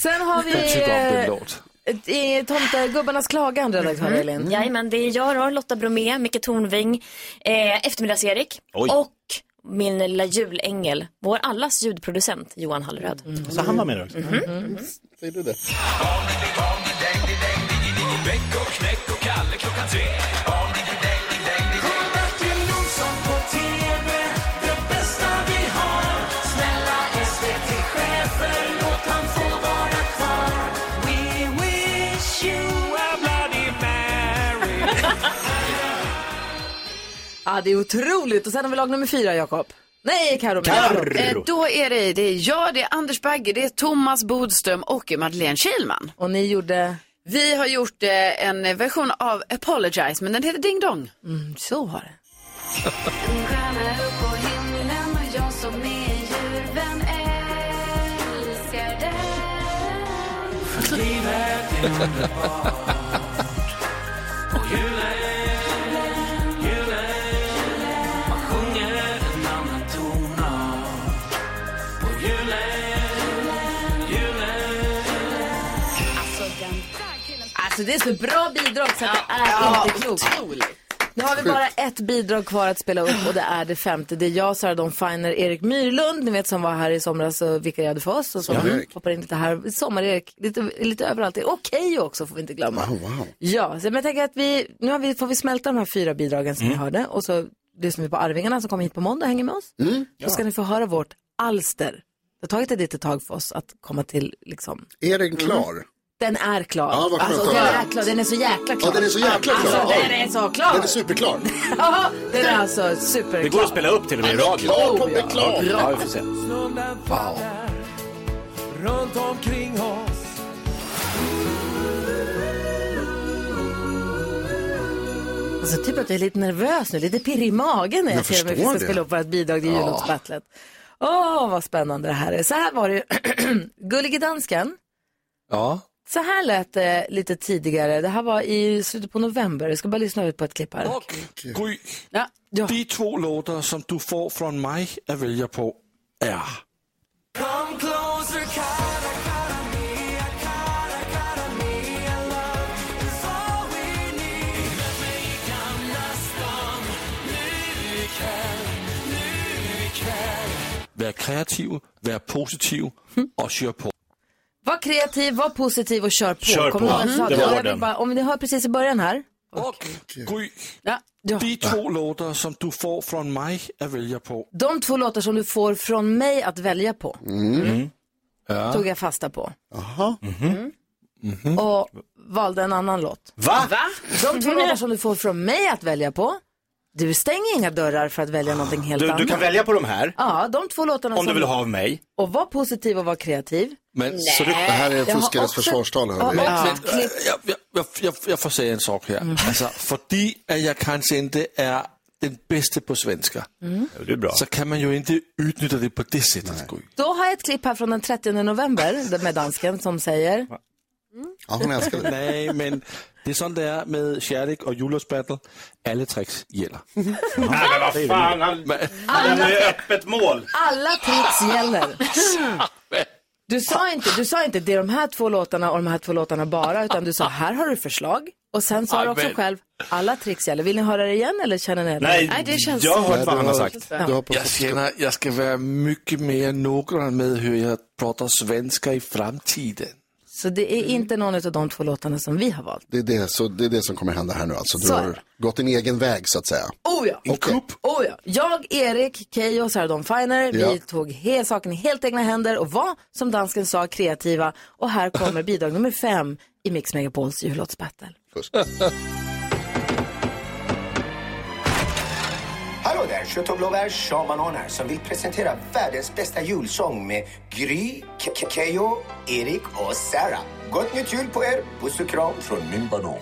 [SPEAKER 1] Sen har vi
[SPEAKER 8] Jag tycker om din
[SPEAKER 1] eh,
[SPEAKER 8] låt.
[SPEAKER 1] ett- eh, Tomtegubbarnas klagan, redaktör Elin.
[SPEAKER 2] Mm. Jajamän, det är jag då, Lotta Bromé, Micke Tornving, eh, Eftermiddags-Erik
[SPEAKER 8] Oj.
[SPEAKER 2] och min lilla julängel, vår allas ljudproducent Johan Hallröd.
[SPEAKER 8] Mm. Så han var med där också.
[SPEAKER 3] Säger du det?
[SPEAKER 15] Bäck och knäck och Kalle klockan tre.
[SPEAKER 1] Ja, det är otroligt. Och sen har vi lag nummer fyra, Jakob. Nej, Karo.
[SPEAKER 9] Eh, Då är det, det är jag, det är Anders Bagge, det är Thomas Bodström och Madeleine Kilman.
[SPEAKER 1] Och ni gjorde?
[SPEAKER 9] Vi har gjort eh, en version av Apologize, men den heter Ding Dong.
[SPEAKER 1] Mm, så har det. Alltså det är så bra bidrag så att det är
[SPEAKER 9] Ja,
[SPEAKER 1] inte klokt. Nu har vi bara ett bidrag kvar att spela upp och det är det femte. Det är jag, Sara Dawn Finer, Erik Myrlund, ni vet som var här i somras och vikarierade för oss och som
[SPEAKER 9] Ja, Erik.
[SPEAKER 1] hoppar in lite här. Sommar-Erik, lite, lite överallt. Och Keyyo också får vi inte glömma. Ja, så men jag tänker att vi, nu har vi, får vi smälta de här fyra bidragen som
[SPEAKER 9] Mm.
[SPEAKER 1] vi hörde och så lyssnar vi på Arvingarna som kommer hit på måndag och hänger med oss.
[SPEAKER 3] Mm.
[SPEAKER 1] Då ska ni få höra vårt alster. Det har tagit ett litet tag för oss att komma till liksom...
[SPEAKER 3] Är den klar?
[SPEAKER 1] Den är klar.
[SPEAKER 3] Ja, vad skönt
[SPEAKER 1] alltså,
[SPEAKER 3] att
[SPEAKER 1] den,
[SPEAKER 3] höra.
[SPEAKER 1] är klar. den är så jäkla klar.
[SPEAKER 3] Ja, den är så jäkla klar.
[SPEAKER 1] Alltså,
[SPEAKER 3] Oj.
[SPEAKER 1] den är så klar.
[SPEAKER 3] Den är superklar.
[SPEAKER 1] Ja, den är alltså superklar.
[SPEAKER 8] Det går att spela upp till och med i radio.
[SPEAKER 3] Ja, det är klart.
[SPEAKER 8] Ja, vi får se.
[SPEAKER 15] Wow. Runt omkring oss
[SPEAKER 1] Alltså typ att jag är lite nervös nu, lite pirrig i magen när jag,
[SPEAKER 16] Jag
[SPEAKER 1] ser att vi
[SPEAKER 16] förstår
[SPEAKER 1] ska
[SPEAKER 16] det.
[SPEAKER 1] spela upp vårt bidrag till
[SPEAKER 16] Ja.
[SPEAKER 1] jullåtsbattlet. Åh, vad spännande det här är. Så här var det ju. Gullige dansken.
[SPEAKER 4] Ja.
[SPEAKER 1] Så här lät det lite tidigare. Det här var i slutet på november. Jag ska bara lyssna ut på ett klipp här.
[SPEAKER 4] Och Gry, de två låtar som du får från mig att välja på är...
[SPEAKER 15] Come closer, cara, cara mia, cara, cara mia, love is all we need. Möt mig i Gamla stan, nu ikväll, nu ikväll.
[SPEAKER 4] Vær kreativ, vær positiv
[SPEAKER 1] Hm.
[SPEAKER 4] och kör på.
[SPEAKER 1] Var kreativ, var positiv och kör på.
[SPEAKER 4] Kör
[SPEAKER 1] Kommer
[SPEAKER 4] på.
[SPEAKER 1] ihåg att jag sa
[SPEAKER 4] Mm.
[SPEAKER 1] det?
[SPEAKER 4] Det var
[SPEAKER 1] Jag vill
[SPEAKER 4] den.
[SPEAKER 1] bara, om ni hör precis i början här.
[SPEAKER 4] Och Gry,
[SPEAKER 1] ja.
[SPEAKER 4] de två låtar som du får från mig att välja på
[SPEAKER 1] De två låtar som du får från mig att välja på,
[SPEAKER 4] Mm. Ja. Mm-hmm.
[SPEAKER 1] tog jag fasta på.
[SPEAKER 3] Jaha.
[SPEAKER 7] Mm.
[SPEAKER 1] Och valde en annan låt.
[SPEAKER 8] Va?
[SPEAKER 1] De två låtar som du får från mig att välja på, du stänger inga dörrar för att välja någonting helt
[SPEAKER 8] Du,
[SPEAKER 1] annat.
[SPEAKER 8] du kan välja på de här.
[SPEAKER 1] Ja, de två låtarna
[SPEAKER 8] Om du
[SPEAKER 1] som-
[SPEAKER 8] vill ha av mig.
[SPEAKER 1] Och var positiv och var kreativ.
[SPEAKER 4] Men,
[SPEAKER 1] så du- Det här är Jag har fuskares också- försvarstal, hör vi.
[SPEAKER 4] Men,
[SPEAKER 1] Ja.
[SPEAKER 4] men, äh, jag, jag, jag, jag, jag får säga en sak här.
[SPEAKER 1] Mm.
[SPEAKER 4] Alltså, fördi att jag kanske inte är den bästa på svenska,
[SPEAKER 1] Mm.
[SPEAKER 4] så kan man ju inte utnyttja det på det sättet. Gry.
[SPEAKER 1] Då har jag ett klipp här från den 30 november med dansken som säger,
[SPEAKER 3] Ja, hon älskar det.
[SPEAKER 4] Nej, men det är sånt det är med kärlek och jullovsbattle. Alla tricks gäller.
[SPEAKER 8] Nej, men vad fan. Han lämnar ju öppet mål.
[SPEAKER 1] alla tricks gäller. Du sa, inte, du sa inte det är de här två låtarna och de här två låtarna bara, utan du sa här har du förslag. Och sen sa du också
[SPEAKER 4] Amen.
[SPEAKER 1] själv, alla tricks gäller. Vill ni höra det igen eller känner ni? Ja.
[SPEAKER 4] Jag känner, jag ska vara mycket mer noggrann med hur jag pratar svenska i framtiden.
[SPEAKER 1] Så det är inte någon av de två låtarna som vi har valt.
[SPEAKER 3] Det är det, så det är det som kommer hända här nu alltså. Du
[SPEAKER 1] Så är
[SPEAKER 3] har gått din egen väg så att säga.
[SPEAKER 1] Oh ja. Oh ja. Jag, Erik, Keyyo och Sarah Dawn Finer,
[SPEAKER 3] Ja.
[SPEAKER 1] vi tog he- saken i helt egna händer och var, som dansken sa, kreativa. Och här kommer bidrag nummer fem i Mix Megapols jullåtsbattle.
[SPEAKER 16] Hallå där, kött och blåbär Shamanon här som vill presentera världens bästa julsång med Gry, Ke- Ke- Keyyo, Erik och Sarah. Gott nytt jul på er! Puss och kram från min banan.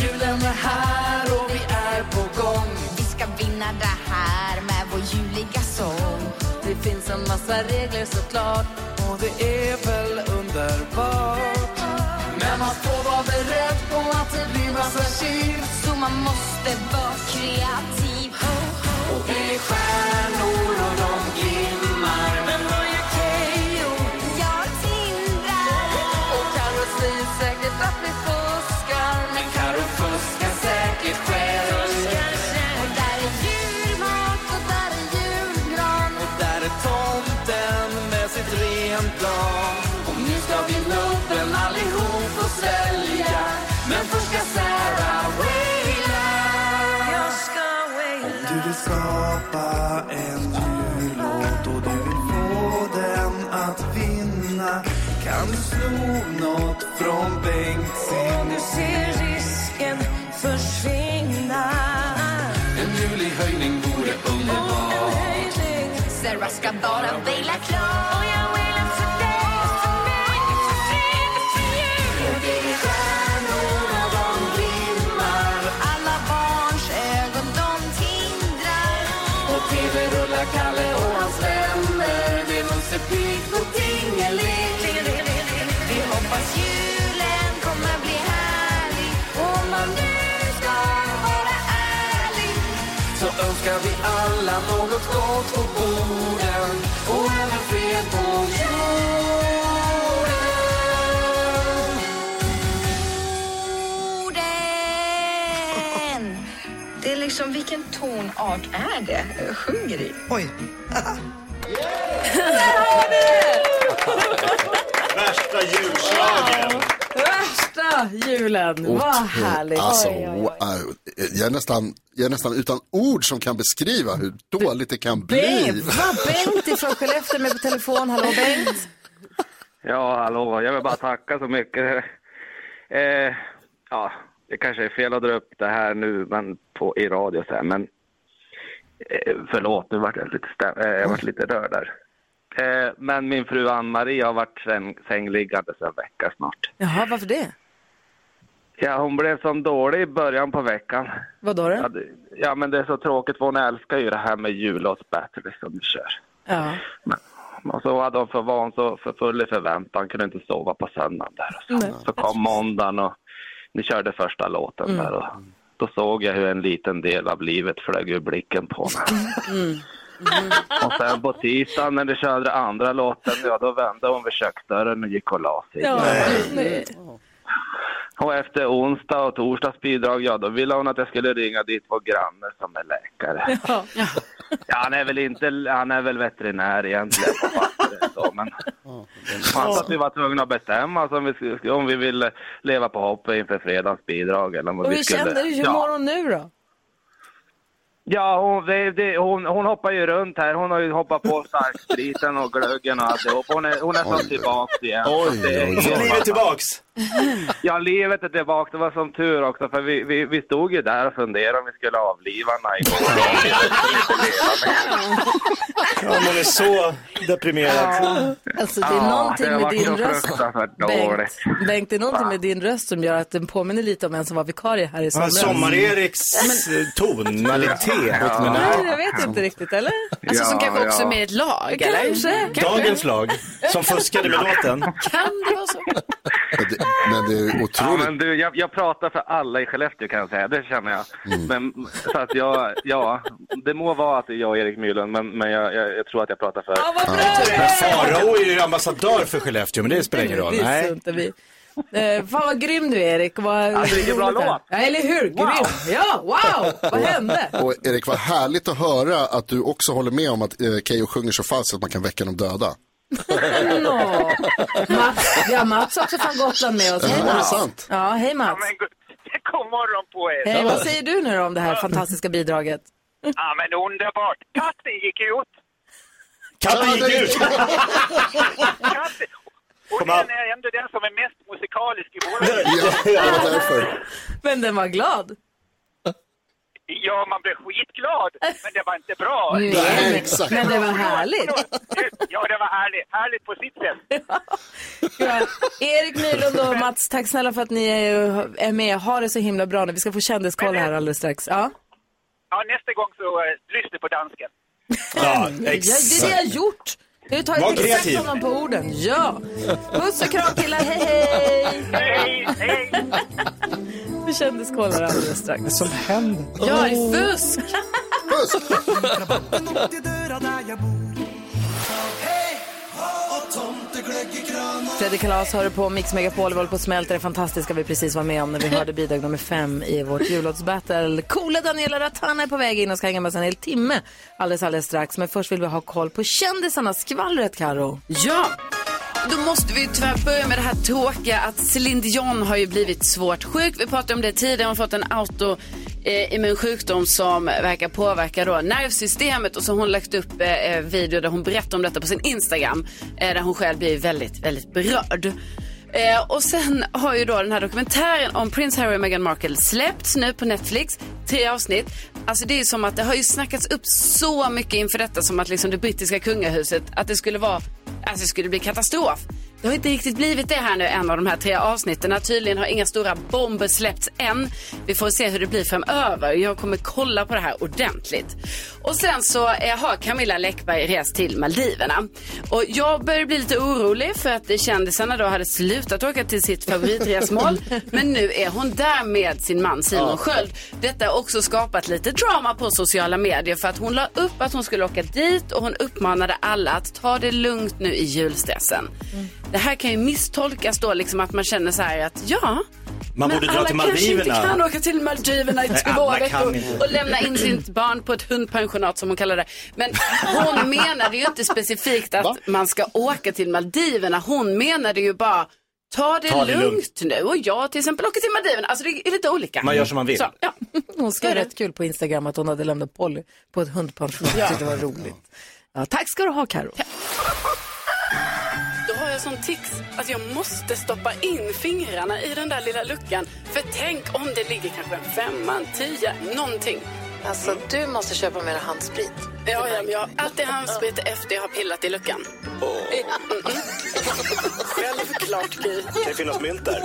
[SPEAKER 7] Julen är här och vi är på gång Vi ska vinna det här med vår juliga sång Det finns en massa regler såklart
[SPEAKER 15] Och det är väl underbart
[SPEAKER 7] Men man får vara beredd på att det blir massa tjur Så man måste vara kreativ Och det är stjärnor och de glimmar Men vad gör Keyyo? Jag tindrar Och Carro säger säkert att vi fuskar Men Carro fuskar säkert själv Och där är julmat och där är julgran
[SPEAKER 15] Och där är tomten med sitt renplan Och nu ska vi nubben allihop och svälja Men först ska Sarah waila Jag ska waila Om du vill skapa en jullåt och du vill få den att vinna Kan du sno något från Bengtzing Och du ser risken försvinna En julig höjning vore underbar
[SPEAKER 7] Sarah ska bara vila klart Och jag vilar för dig, för mig, för dig, för dig Det är stjärnor och de glimmar Alla barns ögon de tindrar
[SPEAKER 15] Och TV rullar Kalle och hans vänner Det är Musse Pigg och Tingeling
[SPEAKER 7] Vi hoppas julen kommer bli härlig Om man nu ska vara ärlig
[SPEAKER 15] Så önskar vi alla något gott på borden Och även fred på jorden
[SPEAKER 7] Orden! Det är liksom, vilken tonart är det? eh, Sjunger i? Oj.
[SPEAKER 8] Värsta julschlagern!
[SPEAKER 1] Värsta julen! Vad härligt!
[SPEAKER 3] Alltså,
[SPEAKER 1] Oj, oj.
[SPEAKER 3] wow. Jag, är nästan, jag är nästan utan ord som kan beskriva hur dåligt det kan bli.
[SPEAKER 1] Bengt, vad Bengt ifrån Skellefteå med på telefon. Hallå Bengt!
[SPEAKER 17] Ja, hallå. Jag vill bara tacka så mycket. Eh, ja, det kanske är fel att dra upp det här nu men på, i radio så här, men eh, förlåt, nu vart jag lite, stäm- eh, jag vart lite rörd där. Eh, men min fru Ann-Marie har varit säng, sängliggande sedan vecka snart.
[SPEAKER 1] Jaha, varför det?
[SPEAKER 17] Ja, hon blev som dålig i början på veckan.
[SPEAKER 1] Vad då?
[SPEAKER 17] Ja, det, ja, men det är så tråkigt för hon älskar ju det här med jullåtsbattle som du liksom, kör.
[SPEAKER 1] Ja.
[SPEAKER 17] Och så hade hon för var hon så för full i förväntan, kunde inte sova på söndagen där.
[SPEAKER 1] Nej.
[SPEAKER 17] Så kom måndagen och ni körde första låten
[SPEAKER 1] Mm.
[SPEAKER 17] där och då såg jag hur en liten del av livet flög ur blicken på mig.
[SPEAKER 15] Mm.
[SPEAKER 17] Och sen på tisdagen när ni körde andra låten, ja då vände hon vid köksdörren och gick och la sig.
[SPEAKER 15] Ja, nej.
[SPEAKER 17] Och efter onsdag och torsdags bidrag, ja då ville hon att jag skulle ringa dit vår granne som är läkare.
[SPEAKER 15] Ja.
[SPEAKER 17] Ja, han är väl inte, han är väl veterinär egentligen på pappret så, men fanns att vi var tvungna att bestämma alltså, om, vi, skulle- om vi ville leva på hoppet inför fredagens bidrag eller om
[SPEAKER 1] Och
[SPEAKER 17] vi
[SPEAKER 1] hur
[SPEAKER 17] skulle...
[SPEAKER 1] kände du? Hur
[SPEAKER 17] ja.
[SPEAKER 1] mår hon nu då?
[SPEAKER 17] Ja, hon, det, det, hon, hon hoppar ju runt här. Hon har ju hoppat på starkspriten och glöggen och alltihop. Hon är, hon är
[SPEAKER 8] Oj.
[SPEAKER 17] så tillbaks igen.
[SPEAKER 8] Oj,
[SPEAKER 17] Så det är-
[SPEAKER 8] oj, oj. Så livet är tillbaks?
[SPEAKER 17] Ja, livet är tillbaks. Det var som tur också, för vi, vi, vi stod ju där och funderade om vi skulle avliva henne
[SPEAKER 8] Ja, man är så deprimerad.
[SPEAKER 1] Alltså det är någonting med din röst.
[SPEAKER 17] dåligt.
[SPEAKER 1] Bengt, Bengt, det är någonting med din röst som gör att den påminner lite om en som var vikarie här i
[SPEAKER 8] Ja,
[SPEAKER 1] somras.
[SPEAKER 8] Sommar-Eriks eh, tonalitet.
[SPEAKER 1] Nej, jag vet inte riktigt, eller?
[SPEAKER 8] Alltså, som Ja, kanske också ja. med
[SPEAKER 1] ett lag, Kanske.
[SPEAKER 8] Dagens lag, som fuskade med låten.
[SPEAKER 1] Kan det vara så?
[SPEAKER 3] Men det är
[SPEAKER 17] Ja, men du, jag, jag pratar för alla i Skellefteå kan jag säga, det känner jag.
[SPEAKER 8] Mm.
[SPEAKER 17] Men, så att jag, ja, det må vara att det är jag och Erik Mylund, men, men jag, jag, jag tror att jag pratar för...
[SPEAKER 8] Men Farao är ju ambassadör för Skellefteå, men det spelar ingen roll.
[SPEAKER 1] Det visste
[SPEAKER 8] Nej.
[SPEAKER 1] inte vi. Eh, fan vad grym du är Erik. Vad
[SPEAKER 8] Ja, det är
[SPEAKER 1] roligt
[SPEAKER 8] en bra
[SPEAKER 1] här.
[SPEAKER 8] låt.
[SPEAKER 1] Ja, eller hur? Grym. Ja, wow! Vad hände?
[SPEAKER 3] Och Erik, vad härligt att höra att du också håller med om att eh, Keyyo sjunger så falskt att man kan väcka de döda.
[SPEAKER 1] Nå. Mats, vi har Mats också från Gotland med oss.
[SPEAKER 15] Ja,
[SPEAKER 1] Hej
[SPEAKER 15] det är
[SPEAKER 1] Mats.
[SPEAKER 15] sant.
[SPEAKER 1] Ja, hej Mats.
[SPEAKER 18] God morgon på er!
[SPEAKER 1] Hej, vad säger du nu då om det här fantastiska bidraget?
[SPEAKER 18] Ja, men underbart! Katten gick ut!
[SPEAKER 8] Katten gick ut!
[SPEAKER 18] Katten. Och den är ändå den som är mest musikalisk i våra
[SPEAKER 1] Men den var glad.
[SPEAKER 18] Ja, man blev skitglad, men det var inte bra.
[SPEAKER 1] Nej, Nej, men- exakt. men det var härligt.
[SPEAKER 18] Ja, det var härligt. Härligt på sitt sätt.
[SPEAKER 1] Ja. Erik Mylund och Mats, tack snälla för att ni är- är med. Ha det så himla bra nu. Vi ska få kändiskoll här alldeles strax. Ja.
[SPEAKER 18] Ja, nästa gång så eh, lyssna på dansken.
[SPEAKER 8] Ja,
[SPEAKER 1] Ja, det är det jag har gjort. Jag har ju tagit
[SPEAKER 8] Var
[SPEAKER 1] exakt
[SPEAKER 8] kreativ.
[SPEAKER 1] honom på orden. Ja. Puss och kram killar, hej hej! Hej, hej! Vi kändiskollar alldeles strax. Vad
[SPEAKER 4] som händer?
[SPEAKER 1] Jag är fusk!
[SPEAKER 15] Något i dörra där jag bor. Hej! Och tomteglögg i kranen.
[SPEAKER 1] Fredrik Kalas hör du på Mix Megapol, vi håller på att smälta det fantastiska vi precis var med om när vi hörde bidrag nummer fem i vårt jullåtsbattle. Coola Daniela Ratana är på väg in och ska hänga med oss en hel timme alldeles, alldeles strax. Men först vill vi ha koll på kändisarna, skvallret Karo.
[SPEAKER 9] Ja, då måste vi tyvärr börja med det här tråkiga att Céline Dion har ju blivit svårt sjuk. Vi pratade om det tidigare, hon har fått en autoimmun sjukdom som verkar påverka då nervsystemet och så har hon lagt upp eh, eh, video där hon berättar om detta på sin Instagram eh, där hon själv blir väldigt, väldigt berörd. Eh, och sen har ju då den här dokumentären om Prince Harry och Meghan Markle släppts nu på Netflix. Tre avsnitt. Alltså det är ju som att det har ju snackats upp så mycket inför detta som att liksom det brittiska kungahuset, att det skulle vara, alltså det skulle bli katastrof. Det har inte riktigt blivit det här nu, en av de här tre avsnitten. Tydligen har inga stora bomber släppts än. Vi får se hur det blir framöver. Jag kommer kolla på det här ordentligt. Och sen så eh, har Camilla Läckberg rest till Maldiverna. Och jag börjar bli lite orolig för att kändisarna då hade slutat åka till sitt favoritresmål. Men nu är hon där med sin man Simon
[SPEAKER 2] Ja.
[SPEAKER 9] Sköld. Detta har också skapat lite drama på sociala medier för att hon la upp att hon skulle åka dit och hon uppmanade alla att ta det lugnt nu i julstressen. Det här kan ju misstolkas då liksom att man känner så här att ja,
[SPEAKER 8] Man
[SPEAKER 9] men
[SPEAKER 8] borde dra
[SPEAKER 9] alla
[SPEAKER 8] till
[SPEAKER 9] kanske inte
[SPEAKER 8] Maldiverna.
[SPEAKER 9] kan åka till Maldiverna i
[SPEAKER 8] Nej,
[SPEAKER 9] två
[SPEAKER 8] alla kan
[SPEAKER 9] veckor
[SPEAKER 8] inte.
[SPEAKER 9] och lämna in sitt barn på ett hundpensionat som hon kallar det. Men hon menade ju inte specifikt att man ska åka till Maldiverna. Hon menade ju bara ta det,
[SPEAKER 8] Ta det
[SPEAKER 9] lugnt,
[SPEAKER 8] lugnt.
[SPEAKER 9] nu och jag till exempel åker till Maldiverna. Alltså det är lite olika.
[SPEAKER 8] Man gör som man vill.
[SPEAKER 9] Så, ja.
[SPEAKER 1] Hon skrev rätt kul på Instagram att hon hade lämnat Polly på ett hundpensionat. Jag tyckte det var roligt. Ja, tack ska du ha Karo.
[SPEAKER 9] Då har jag sån tics att jag måste stoppa in fingrarna i den där lilla luckan. För tänk om det ligger kanske en femma, en tia, någonting.
[SPEAKER 1] Alltså du måste köpa mer handsprit.
[SPEAKER 9] Ja, ja, men jag har alltid handsprit efter jag har pillat i luckan. Mm, Mm-mm. Självklart, Gry.
[SPEAKER 8] Det kan finnas mynt där.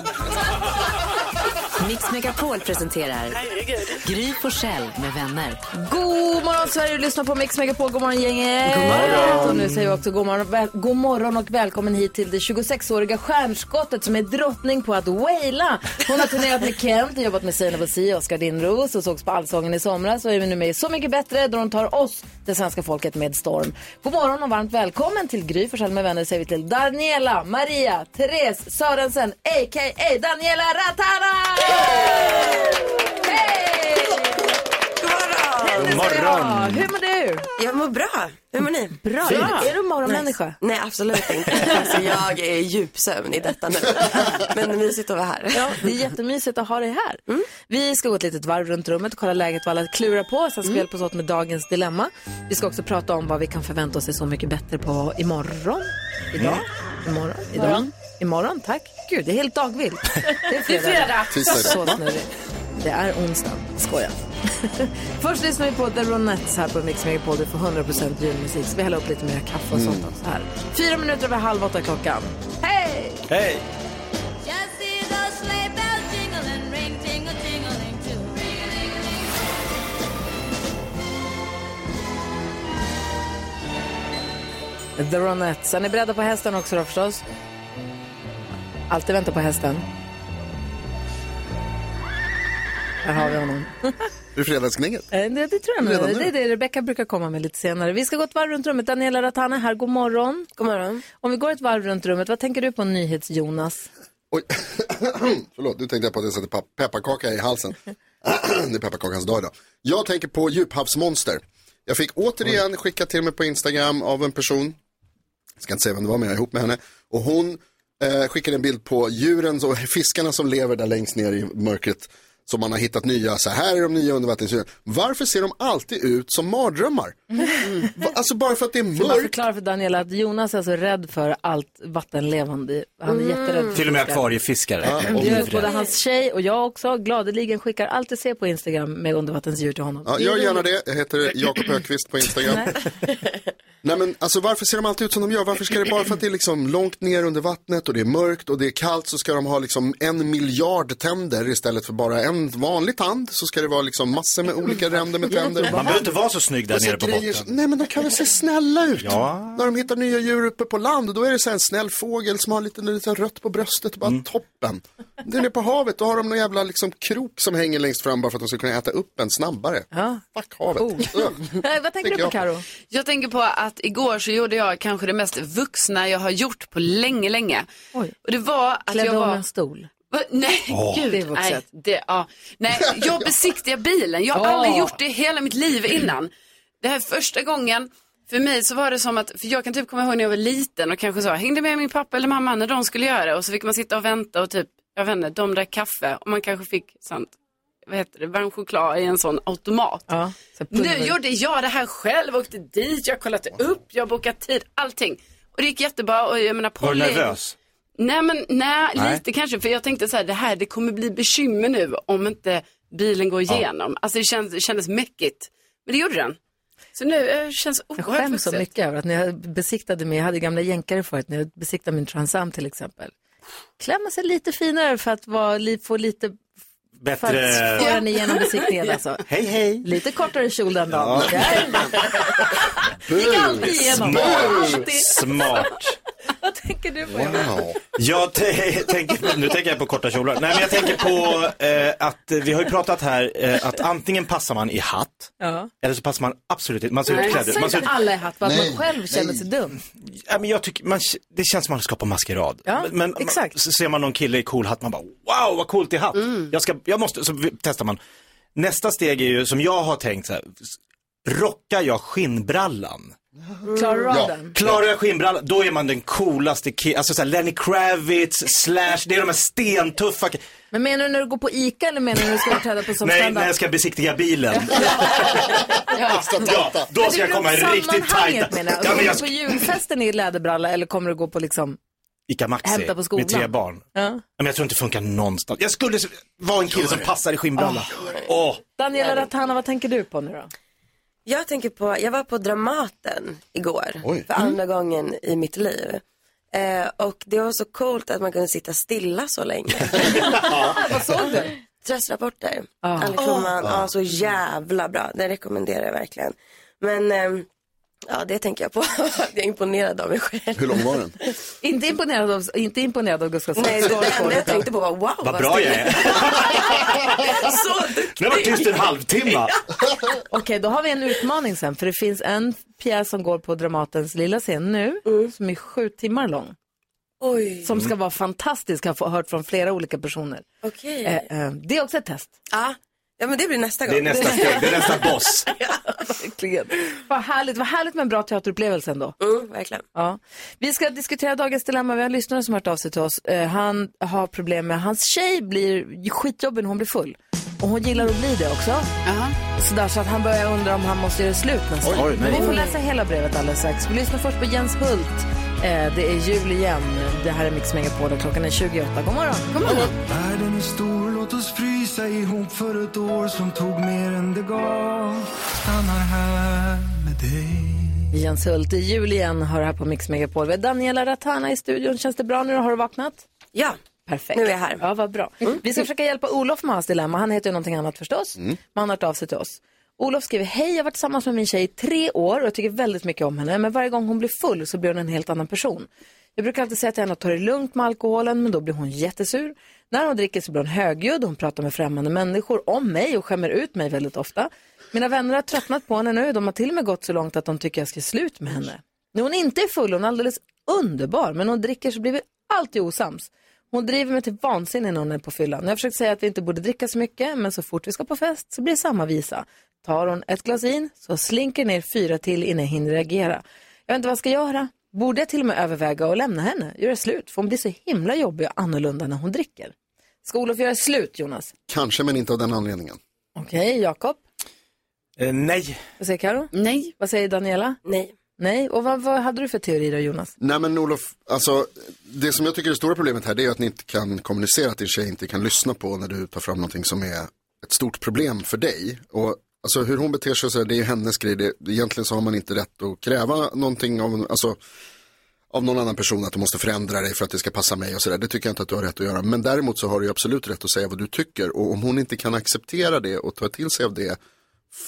[SPEAKER 19] Mix Megapol presenterar
[SPEAKER 9] Herregud.
[SPEAKER 19] Gry Forssell med vänner.
[SPEAKER 1] God morgon Sverige, du lyssnar på Mix Megapol. God morgon gänget.
[SPEAKER 19] God morgon.
[SPEAKER 1] Och nu säger vi också god morgon, väl, god morgon och välkommen hit till det 26-åriga stjärnskottet som är drottning på att waila. Hon har turnerat med Kent, jobbat med Sina Bosi och Oskar Lindros och sågs på Allsången i somras och är nu med i Så mycket bättre där hon tar oss, det svenska folket, med storm. God morgon och varmt välkommen till Gry Forssell med vänner säger vi till Daniela, Maria, Therese Sörensen, a.k.a. Daniela Ratana!
[SPEAKER 20] God
[SPEAKER 1] morgon. Hur mår du?
[SPEAKER 20] Jag mår bra. Hur mår ni?
[SPEAKER 1] Bra. Är du morgonmänniska?
[SPEAKER 20] Nice. Nej, absolut inte. Alltså, jag är i djupsömn i detta nu. Men mysigt att vara här. Mm.
[SPEAKER 1] Ja, det är jättemysigt att ha dig här. Vi ska gå ett litet varv runt rummet och kolla läget vad alla klurar på.
[SPEAKER 20] Mm.
[SPEAKER 1] Sen ska vi hjälpas åt med dagens dilemma. Vi ska också prata om vad vi kan förvänta oss är Så mycket bättre på imorgon. Idag. Imorgon. Idag.
[SPEAKER 15] Morgon.
[SPEAKER 1] Imorgon, tack. Gud, det är helt dagvilt. Det är
[SPEAKER 15] Det är fredag. Tisdag.
[SPEAKER 1] Så snurrigt. Det är onsdag. Skoja. Först lyssnar vi på The Ronettes här på Mix Megapol. Du får 100% julmusik. Så vi häller upp lite mer kaffe och sånt också här. Fyra minuter över halv åtta klockan. Hej!
[SPEAKER 8] Hej!
[SPEAKER 7] Jag ser the sleigh bells jingling, ring tingle tingling too.
[SPEAKER 1] The Ronettes. Är ni beredda på hästen också då förstås? Alltid vänta på hästen. Här har vi honom.
[SPEAKER 3] Det är fredagsgnägget.
[SPEAKER 1] Eh, Det, det tror jag
[SPEAKER 3] Redan nu?
[SPEAKER 1] nog. Det är det Rebecca brukar komma med lite senare. Vi ska gå ett varv runt rummet. Daniela Ratana är här, god morgon. God morgon. Om vi går ett varv runt rummet, vad tänker du på NyhetsJonas?
[SPEAKER 3] Förlåt, nu tänkte jag på att jag satte pep- pepparkaka i halsen. det är pepparkakans dag idag. Jag tänker på djuphavsmonster. Jag fick återigen skickat till mig på Instagram av en person Jag ska inte säga vem det var, men jag är ihop med henne. Och hon eh, skickade en bild på djuren och fiskarna som lever där längst ner i mörkret. Som man har hittat nya, så här är de nya undervattensdjuren. Varför ser de alltid ut som mardrömmar? Va- Alltså bara för att det är
[SPEAKER 1] Ska man
[SPEAKER 3] mörkt.
[SPEAKER 1] förklara Mm. för Daniela att Jonas är alltså rädd för allt vattenlevande.
[SPEAKER 3] Mm.
[SPEAKER 1] Han är jätterädd för
[SPEAKER 8] Till och med
[SPEAKER 1] fiskar.
[SPEAKER 8] akvariefiskare.
[SPEAKER 1] Det gör både
[SPEAKER 8] Livrädd.
[SPEAKER 1] hans tjej och jag också. Gladeligen skickar allt jag ser på Instagram med undervattensdjur till honom.
[SPEAKER 3] Ja, gör gärna det. Jag heter Jakob Högqvist på Instagram. Nej men alltså varför ser de alltid ut som de gör? Varför ska det bara för att det är liksom långt ner under vattnet och det är mörkt och det är kallt så ska de ha liksom en miljard tänder istället för bara en vanlig tand så ska det vara liksom massor med olika ränder med tänder.
[SPEAKER 8] Man behöver inte vara så snygg där
[SPEAKER 3] Och så
[SPEAKER 8] nere på
[SPEAKER 3] grejer-
[SPEAKER 8] botten.
[SPEAKER 3] Nej men de kan väl se snälla ut.
[SPEAKER 8] Ja.
[SPEAKER 3] När de hittar nya djur uppe på land då är det så här en snäll fågel som har lite, lite rött på bröstet och bara
[SPEAKER 8] Mm.
[SPEAKER 3] toppen. Den är på havet då har de någon jävla liksom krok som hänger längst fram bara för att de ska kunna äta upp en snabbare.
[SPEAKER 1] Ja.
[SPEAKER 3] Fuck havet.
[SPEAKER 1] Eh, Vad tänker du på Karo?
[SPEAKER 9] Jag tänker på att igår så gjorde jag kanske det mest vuxna jag har gjort på länge, länge. Och det var att
[SPEAKER 1] Klädde
[SPEAKER 9] jag
[SPEAKER 1] om
[SPEAKER 9] var...
[SPEAKER 1] en stol.
[SPEAKER 9] Va? Nej,
[SPEAKER 1] Åh.
[SPEAKER 9] gud.
[SPEAKER 1] Det är vuxet.
[SPEAKER 9] Nej, det, ja. Nej, jag besiktigar bilen. Jag har
[SPEAKER 1] Ja.
[SPEAKER 9] aldrig gjort det i hela mitt liv innan. Det här är första gången. För mig så var det som att, för jag kan typ komma ihåg när jag var liten och kanske så, hängde med min pappa eller mamma när de skulle göra det och så fick man sitta och vänta och typ, jag vet inte, de drack kaffe och man kanske fick sånt, vad heter det, varm choklad i en sån automat.
[SPEAKER 1] Ja, så
[SPEAKER 9] Nu gjorde jag det här själv, åkte dit, jag kollade upp, jag bokade tid, allting. Och det gick jättebra och jag menar
[SPEAKER 8] Var du
[SPEAKER 9] Polly.
[SPEAKER 8] nervös?
[SPEAKER 9] Nej men nej,
[SPEAKER 8] Nej.
[SPEAKER 9] lite kanske för jag tänkte så här, det här det kommer bli bekymmer nu om inte bilen går
[SPEAKER 1] Ja.
[SPEAKER 9] igenom. Alltså det kändes, det kändes mäckigt. Men det gjorde den. Så nu eh, känns
[SPEAKER 20] Oh,
[SPEAKER 1] Jag
[SPEAKER 9] oerhört
[SPEAKER 1] skäms så
[SPEAKER 9] vuxet.
[SPEAKER 1] mycket över att när jag besiktade mig, jag hade gamla jänkare förut, när jag besiktade min Transam till exempel. Klämmer sig lite finare för att vara, li- få lite, för
[SPEAKER 8] Bättre...
[SPEAKER 1] att få den igenom besiktningen alltså.
[SPEAKER 8] Hej hej.
[SPEAKER 1] Lite kortare kjol den dagen.
[SPEAKER 8] Ja.
[SPEAKER 1] Gick alltid igenom.
[SPEAKER 8] Smart.
[SPEAKER 1] Alltid.
[SPEAKER 8] Smart.
[SPEAKER 1] Vad tänker du på?
[SPEAKER 8] Mm. Jag te- tänker, nu tänker jag på korta kjolar. Nej, men jag tänker på eh, att eh, vi har ju pratat här eh, att antingen passar man i hatt
[SPEAKER 1] Ja.
[SPEAKER 8] eller så passar man absolut inte. Man ser ut klädd.
[SPEAKER 1] Passar
[SPEAKER 8] Man ser
[SPEAKER 1] inte
[SPEAKER 8] ut...
[SPEAKER 1] alla i hatt för att
[SPEAKER 8] Nej,
[SPEAKER 1] man själv känner
[SPEAKER 8] nej.
[SPEAKER 1] sig dum?
[SPEAKER 8] Ja, men jag tycker, man, det känns som att man ska på maskerad.
[SPEAKER 1] Ja,
[SPEAKER 8] men, men Man, så ser man någon kille i cool hatt, man bara wow vad coolt i hatt.
[SPEAKER 1] Mm.
[SPEAKER 8] Jag, ska, jag måste, så vi- testar man. Nästa steg är ju som jag har tänkt så här, s- rockar jag skinnbrallan?
[SPEAKER 1] Klarar du av
[SPEAKER 8] Ja.
[SPEAKER 1] den?
[SPEAKER 8] Klarar jag skinnbrallan, då är man den coolaste killen. Alltså såhär Lenny Kravitz, Slash, det är de här stentuffa ki-
[SPEAKER 1] Men menar du när du går på ICA eller menar du när du ska uppträda på som
[SPEAKER 8] Nej,
[SPEAKER 1] standup?
[SPEAKER 8] när jag ska besiktiga bilen.
[SPEAKER 1] Ja.
[SPEAKER 8] ja, då
[SPEAKER 1] Men
[SPEAKER 8] ska jag
[SPEAKER 1] det
[SPEAKER 8] komma i
[SPEAKER 1] beror på
[SPEAKER 8] riktigt
[SPEAKER 1] sammanhanget,
[SPEAKER 8] tajta.
[SPEAKER 1] menar jag.
[SPEAKER 8] Ja, men jag
[SPEAKER 1] Kommer
[SPEAKER 8] ska...
[SPEAKER 1] du på julfesten i läderbralla eller kommer du gå på liksom...
[SPEAKER 8] Ica Maxi
[SPEAKER 1] Hämta på skolan.
[SPEAKER 8] med tre barn.
[SPEAKER 1] Ja.
[SPEAKER 8] Men jag tror inte det funkar någonstans. Jag skulle s- vara en kille som passar i skinnbralla. Åh,
[SPEAKER 1] Daniela Ratana, vad tänker du på nu då?
[SPEAKER 20] Jag tänker på, jag var på Dramaten igår
[SPEAKER 3] Oj.
[SPEAKER 20] för andra gången i mitt liv. Eh, och det var så coolt att man kunde sitta stilla så länge.
[SPEAKER 1] Vad såg du?
[SPEAKER 20] Stressrapporter.
[SPEAKER 1] Ah.
[SPEAKER 20] Alex Schulman,
[SPEAKER 1] Ah.
[SPEAKER 20] ja, så jävla bra. Den rekommenderar jag verkligen. Men ehm, ja, det tänker jag på. jag är imponerad av mig själv.
[SPEAKER 3] Hur lång var den?
[SPEAKER 1] Inte imponerad av, inte imponerad av Gustav
[SPEAKER 20] Nej, det enda jag tänkte på var wow.
[SPEAKER 8] vad bra jag är.
[SPEAKER 20] Så duktig.
[SPEAKER 8] Nu har jag varit tyst en halvtimme.
[SPEAKER 1] Okej, då har vi en utmaning sen. För det finns en pjäs som går på Dramatens lilla scen nu, som är sju timmar lång.
[SPEAKER 20] Oj.
[SPEAKER 1] Som ska vara fantastisk, har jag fått- hört från flera olika personer.
[SPEAKER 20] Okej.
[SPEAKER 1] Eh, eh, det är också ett test.
[SPEAKER 20] Ja. ja, men det blir nästa gång.
[SPEAKER 8] Det är nästa steg, det är nästa boss.
[SPEAKER 1] Verkligen. Vad härligt, vad härligt med en bra teaterupplevelse ändå.
[SPEAKER 20] Mm, verkligen.
[SPEAKER 1] Ja. Vi ska diskutera dagens dilemma. Vi har en lyssnare som har hört av sig till oss. Eh, han har problem med, hans tjej blir skitjobbig när hon blir full. Och hon gillar att bli det också. Så, där, så att han börjar undra om han måste göra slut nästan.
[SPEAKER 15] Oj, oj, nej.
[SPEAKER 1] Men vi får läsa hela brevet alldeles strax. Vi lyssnar först på Jens Hult. Eh, det är jul igen. Det här är Mix Megapol och klockan är 28. God morgon. God morgon.
[SPEAKER 15] Världen är stor, låt oss frysa ihop för ett år som tog mer än det gav. Stannar här med dig.
[SPEAKER 1] Jens Hult, i jul igen hör här på Mix Megapol. Vi har Daniela Ratana i studion. Känns det bra nu? Har du vaknat?
[SPEAKER 20] Ja.
[SPEAKER 1] Perfekt.
[SPEAKER 20] Nu är jag här.
[SPEAKER 1] Ja, vad bra. Vi ska försöka hjälpa Olof med hans dilemma. Han heter ju någonting annat förstås. Mm. Men han har hört av sig till oss. Olof skriver, hej jag har varit tillsammans med min tjej i tre år och jag tycker väldigt mycket om henne. Men varje gång hon blir full så blir hon en helt annan person. Jag brukar alltid säga till henne att ta det lugnt med alkoholen men då blir hon jättesur. När hon dricker så blir hon högljudd, hon pratar med främmande människor om mig och skämmer ut mig väldigt ofta. Mina vänner har tröttnat på henne nu, de har till och med gått så långt att de tycker jag ska slut med henne. När hon inte är full, hon är alldeles underbar, men när hon dricker så blir vi alltid osams. Hon driver mig till vansinne när hon är på fyllan. Jag har försökt säga att vi inte borde dricka så mycket, men så fort vi ska på fest så blir det samma visa. Tar hon ett glas vin så slinker ner fyra till innan jag hinner reagera. Jag vet inte vad jag ska göra. Borde jag till och med överväga att lämna henne, göra slut? För hon blir så himla jobbig och annorlunda när hon dricker. Ska Olof göra slut, Jonas?
[SPEAKER 3] Kanske, men inte av den anledningen.
[SPEAKER 1] Okej, Jakob?
[SPEAKER 8] nej.
[SPEAKER 1] Vad säger Karo?
[SPEAKER 9] Nej.
[SPEAKER 1] Vad säger Daniela?
[SPEAKER 20] Nej.
[SPEAKER 1] Nej, och vad, vad hade du för teori då, Jonas?
[SPEAKER 3] Nej men Olof, alltså det som jag tycker är det stora problemet här det är att ni inte kan kommunicera, att din tjej inte kan lyssna på när du tar fram någonting som är ett stort problem för dig. Och alltså hur hon beter sig och så här, det är ju hennes grej, det, egentligen så har man inte rätt att kräva någonting av, alltså, av någon annan person att du måste förändra dig för att det ska passa mig och sådär. Det tycker jag inte att du har rätt att göra. Men däremot så har du ju absolut rätt att säga vad du tycker och om hon inte kan acceptera det och ta till sig av det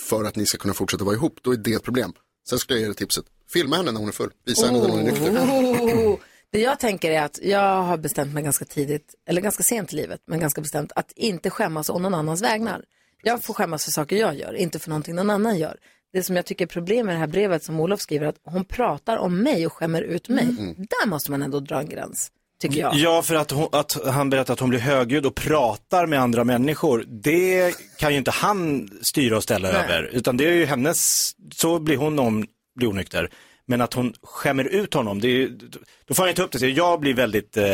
[SPEAKER 3] för att ni ska kunna fortsätta vara ihop, då är det ett problem. Sen skulle jag ge dig tipset, filma henne när hon är full, visa henne när hon är nykter.
[SPEAKER 1] Oh. Det jag tänker är att jag har bestämt mig ganska tidigt, eller ganska sent i livet, men ganska bestämt att inte skämmas å någon annans vägnar. Jag får skämmas för saker jag gör, inte för någonting någon annan gör. Det som jag tycker är problem med det här brevet som Olof skriver, att hon pratar om mig och skämmer ut mig. Där måste man ändå dra en gräns, tycker jag.
[SPEAKER 8] Ja, för att, hon, att han berättar att hon blir högljudd och pratar med andra människor. Det kan ju inte han styra och ställa
[SPEAKER 1] Nej.
[SPEAKER 8] över. Utan det är ju hennes, så blir hon om, blir onykter. Men att hon skämmer ut honom, det är, ju- då får han ju ta upp det. Så Jag blir väldigt, eh,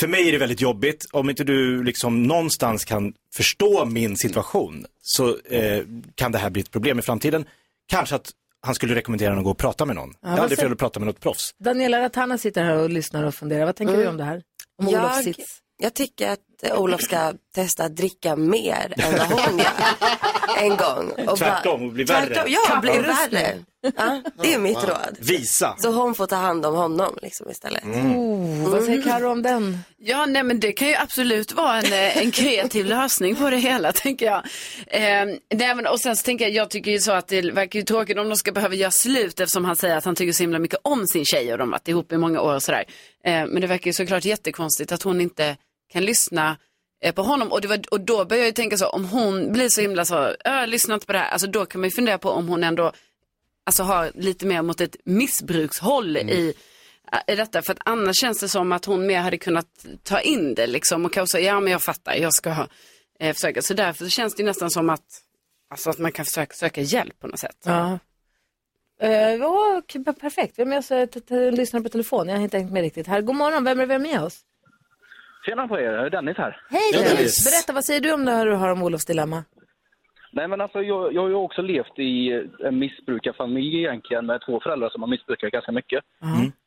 [SPEAKER 8] för mig är det väldigt jobbigt. Om inte du liksom någonstans kan förstå min situation så eh, kan det här bli ett problem i framtiden. Kanske att han skulle rekommendera henne att gå och prata med någon. det
[SPEAKER 1] vad
[SPEAKER 8] är aldrig
[SPEAKER 1] säger-
[SPEAKER 8] fel att prata med något proffs.
[SPEAKER 1] Daniela Ratana sitter här och lyssnar och funderar. Vad tänker
[SPEAKER 20] Mm.
[SPEAKER 1] du om det här? Om
[SPEAKER 20] jag,
[SPEAKER 1] Olofs sits?
[SPEAKER 20] jag tycker att eh, Olof ska testa att dricka mer än vad hon gör. En gång.
[SPEAKER 8] Tvärtom, och bli
[SPEAKER 20] tvärtom,
[SPEAKER 8] värre.
[SPEAKER 20] Ja, bli
[SPEAKER 8] Kapprustning.
[SPEAKER 20] värre. Ja, det är mitt
[SPEAKER 8] Wow.
[SPEAKER 20] råd.
[SPEAKER 8] Visa.
[SPEAKER 20] Så hon får ta hand om honom liksom, istället.
[SPEAKER 8] Mm.
[SPEAKER 9] Mm.
[SPEAKER 1] Oh, vad säger Karo om den?
[SPEAKER 9] Ja, nej men det kan ju absolut vara en, eh, en kreativ lösning på det hela, tänker jag. Eh, nej, men, och sen så tänker jag, jag tycker ju så att det verkar ju tråkigt om de ska behöva göra slut eftersom han säger att han tycker så himla mycket om sin tjej och de har varit ihop i många år och sådär. Eh, men det verkar ju såklart jättekonstigt att hon inte kan lyssna eh, på honom. Och, det var, och då börjar jag ju tänka så, om hon blir så himla så, "Äh, lyssna inte på det här, alltså då kan man ju fundera på om hon ändå alltså har lite mer mot ett missbrukshåll
[SPEAKER 8] Mm.
[SPEAKER 9] i, eh, i detta. För att annars känns det som att hon mer hade kunnat ta in det liksom och kanske säga, ja men jag fattar, jag ska eh, försöka. Så därför så känns det nästan som att, alltså att man kan försöka söka hjälp på något sätt.
[SPEAKER 1] Ja. Eh, åh, k- perfekt, vem är jag så t- t- lyssnar på telefon? Jag har inte hängt med riktigt här. God morgon, vem är vem är med oss?
[SPEAKER 21] Tjena på er, Dennis här.
[SPEAKER 1] Hej Dennis! Berätta, vad säger du om det här du har om Olofs dilemma?
[SPEAKER 21] Nej, men alltså, jag, jag har ju också levt i en missbrukarfamilj egentligen med två föräldrar som har missbrukat ganska mycket.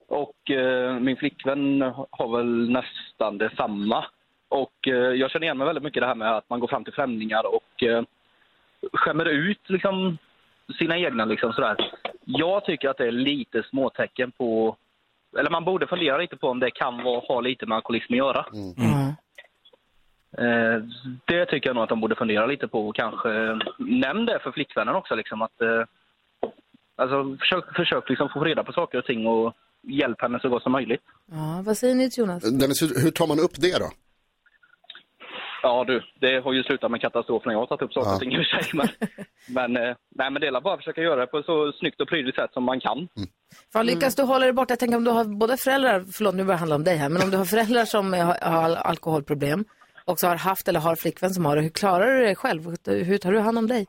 [SPEAKER 21] Och eh, min flickvän har väl nästan detsamma. Och eh, jag känner igen mig väldigt mycket i det här med att man går fram till främlingar och eh, skämmer ut liksom, sina egna. Liksom, sådär. Jag tycker att det är lite småtecken på... Eller man borde fundera lite på om det kan vara, ha lite med alkoholism att göra. Eh, det tycker jag nog att de borde fundera lite på och kanske eh, nämn det för flickvännen också. Liksom, att, eh, alltså, försök försök liksom, få reda på saker och ting och hjälp henne så gott som möjligt.
[SPEAKER 1] Ja, vad säger ni till Jonas?
[SPEAKER 3] Dennis, hur, hur tar man upp det då?
[SPEAKER 21] Ja du, det har ju slutat med katastrof när jag har tagit upp saker och ting i och för sig. Men, men, eh, nej, men det är väl bara att försöka göra det på så snyggt och prydligt sätt som man kan.
[SPEAKER 1] Fan, lyckas du hålla dig borta? Jag tänker om du har båda föräldrar, förlåt nu börjar det handla om dig här, men om du har föräldrar som är- har al- alkoholproblem och så har haft eller har flickvän som har det, hur klarar du dig själv? Hur tar du hand om dig?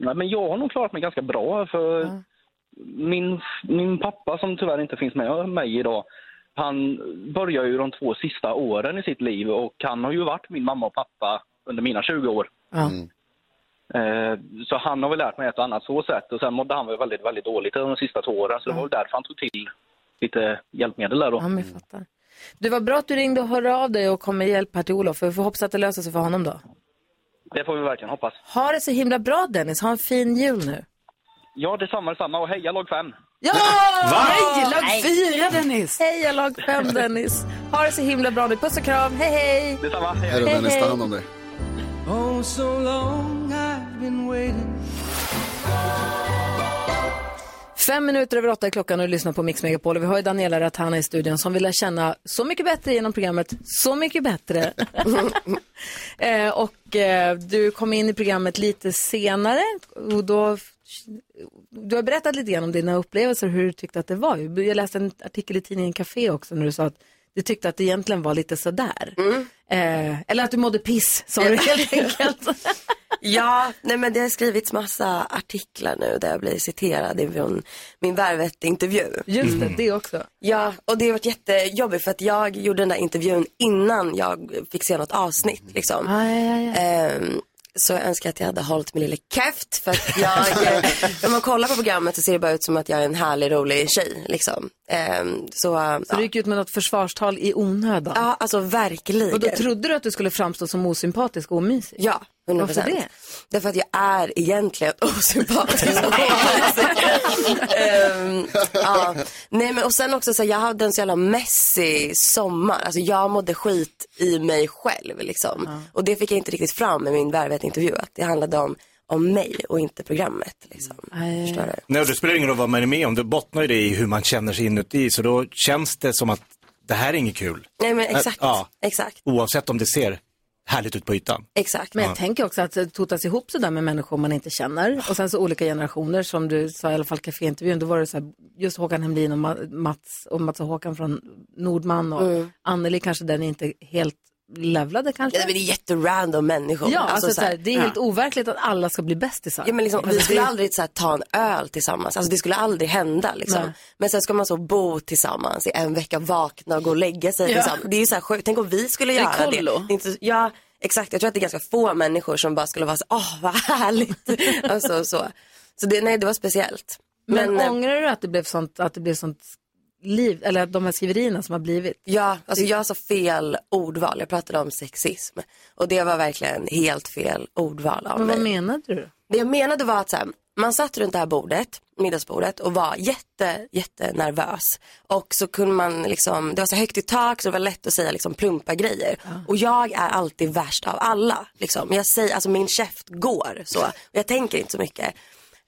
[SPEAKER 21] Nej, men jag har nog klarat mig ganska bra. för min, min pappa, som tyvärr inte finns med mig idag, han började ju de två sista åren i sitt liv och han har ju varit min mamma och pappa under mina 20 år. Eh, Så han har väl lärt mig ett och annat så sätt och sen mådde han väl väldigt, väldigt dåligt under de sista två åren så det var väl därför han tog till lite hjälpmedel där då. Mm.
[SPEAKER 1] Ja, men jag fattar. Du, var bra att du ringde och hörde av dig och kom med hjälp här till Olof, för vi får hoppas att det löser sig för honom då.
[SPEAKER 21] Det får vi verkligen hoppas.
[SPEAKER 1] Ha det så himla bra Dennis, ha en fin jul nu.
[SPEAKER 21] Ja, detsamma, detsamma och heja lag 5!
[SPEAKER 1] Ja!
[SPEAKER 21] Va?
[SPEAKER 1] Nej,
[SPEAKER 21] Nej.
[SPEAKER 1] lag fyra Dennis! Hej, lag fem Dennis. Ha det så himla bra nu, puss och kram, hej hej!
[SPEAKER 21] Detsamma,
[SPEAKER 3] Här är Dennis, ta hand om dig.
[SPEAKER 13] Oh, so long I've been waiting.
[SPEAKER 1] Fem minuter över åtta är klockan och du lyssnar på Mix Megapol. Och Vi har ju Daniela Ratana i studion som vill lära känna så mycket bättre genom programmet, så mycket bättre. eh, och eh, du kom in i programmet lite senare och då, du har berättat lite grann om dina upplevelser och hur du tyckte att det var. Jag läste en artikel i tidningen Café också när du sa att du tyckte att det egentligen var lite sådär. Eh, eller att du mådde piss, sa du helt enkelt.
[SPEAKER 20] Ja, nej men det har skrivits massa artiklar nu där jag blir citerad ifrån min Värvet-intervju.
[SPEAKER 1] Just
[SPEAKER 20] Mm.
[SPEAKER 8] Mm.
[SPEAKER 1] det, det också.
[SPEAKER 20] Ja, och det har varit jättejobbigt för att jag gjorde den där intervjun innan jag fick se något avsnitt. Liksom. Ehm, så jag önskar att jag hade hållit min lille käft för att jag, eh, när man kollar på programmet så ser det bara ut som att jag är en härlig, rolig tjej. Liksom. Ehm, så, eh,
[SPEAKER 1] Så du gick ut med något försvarstal i onödan?
[SPEAKER 20] Ja, alltså verkligen.
[SPEAKER 1] Och då trodde du att du skulle framstå som osympatisk och omysig?
[SPEAKER 20] Ja, 100%.
[SPEAKER 1] Varför det?
[SPEAKER 20] Därför att jag är egentligen osympatisk. Ehm, ja. Nej men och sen också så här, jag hade en så jävla messy sommar. Alltså jag mådde skit i mig själv liksom. Och det fick jag inte riktigt fram med min Värvet-intervju. Att det handlade om, om mig och inte programmet liksom. Förstår du?
[SPEAKER 8] Nej, och det spelar ingen roll vad man är med om. Det bottnar ju det i hur man känner sig inuti. Så då känns det som att det här är inget kul.
[SPEAKER 20] Nej men exakt.
[SPEAKER 8] Ja,
[SPEAKER 20] Exakt.
[SPEAKER 8] oavsett om det ser härligt ut på ytan.
[SPEAKER 20] Exakt.
[SPEAKER 1] Men jag
[SPEAKER 8] Ja.
[SPEAKER 1] tänker också att det totas ihop sådär med människor man inte känner. Och sen så olika generationer, som du sa i alla fall kaféintervjun, då var det så här, just Håkan Hemlin och Ma- Mats, och Mats och Håkan från Nordman och
[SPEAKER 20] Mm.
[SPEAKER 1] Anneli kanske den är inte helt levlade kanske.
[SPEAKER 20] Nej, men det är jätterandom människor.
[SPEAKER 1] Ja, alltså, så här, det är
[SPEAKER 20] ja.
[SPEAKER 1] helt overkligt att alla ska bli bästisar.
[SPEAKER 20] Ja, men liksom,
[SPEAKER 1] Alltså,
[SPEAKER 20] vi
[SPEAKER 1] det-
[SPEAKER 20] skulle aldrig så här, ta en öl tillsammans, alltså, det skulle aldrig hända.
[SPEAKER 1] Nej.
[SPEAKER 20] Liksom. Men sen ska man så bo tillsammans i en vecka, vakna och gå och lägga sig
[SPEAKER 1] Ja.
[SPEAKER 20] tillsammans. Det är ju så här sjukt, tänk om vi skulle
[SPEAKER 1] Det är
[SPEAKER 20] göra det.
[SPEAKER 1] kollo.
[SPEAKER 20] det är inte, ja, exakt, jag tror att det är ganska få människor som bara skulle vara så, åh vad härligt. alltså, så så det, nej, det var speciellt.
[SPEAKER 1] Men,
[SPEAKER 20] eh,
[SPEAKER 1] ångrar du att det blev sånt, att det blev sånt liv, eller att de här skriverierna som har blivit?
[SPEAKER 20] Ja, alltså jag sa fel ordval, jag pratade om sexism. Och det var verkligen helt fel ordval av
[SPEAKER 1] Men
[SPEAKER 20] mig.
[SPEAKER 1] vad menade du?
[SPEAKER 20] Det jag menade var att så här, man satt runt det här bordet, middagsbordet och var jätte, jättenervös. Och så kunde man liksom, det var så högt i tak så det var lätt att säga liksom plumpa grejer. Och jag är alltid värst av alla. Liksom. Jag säger, alltså min käft går så. Och jag tänker inte så mycket.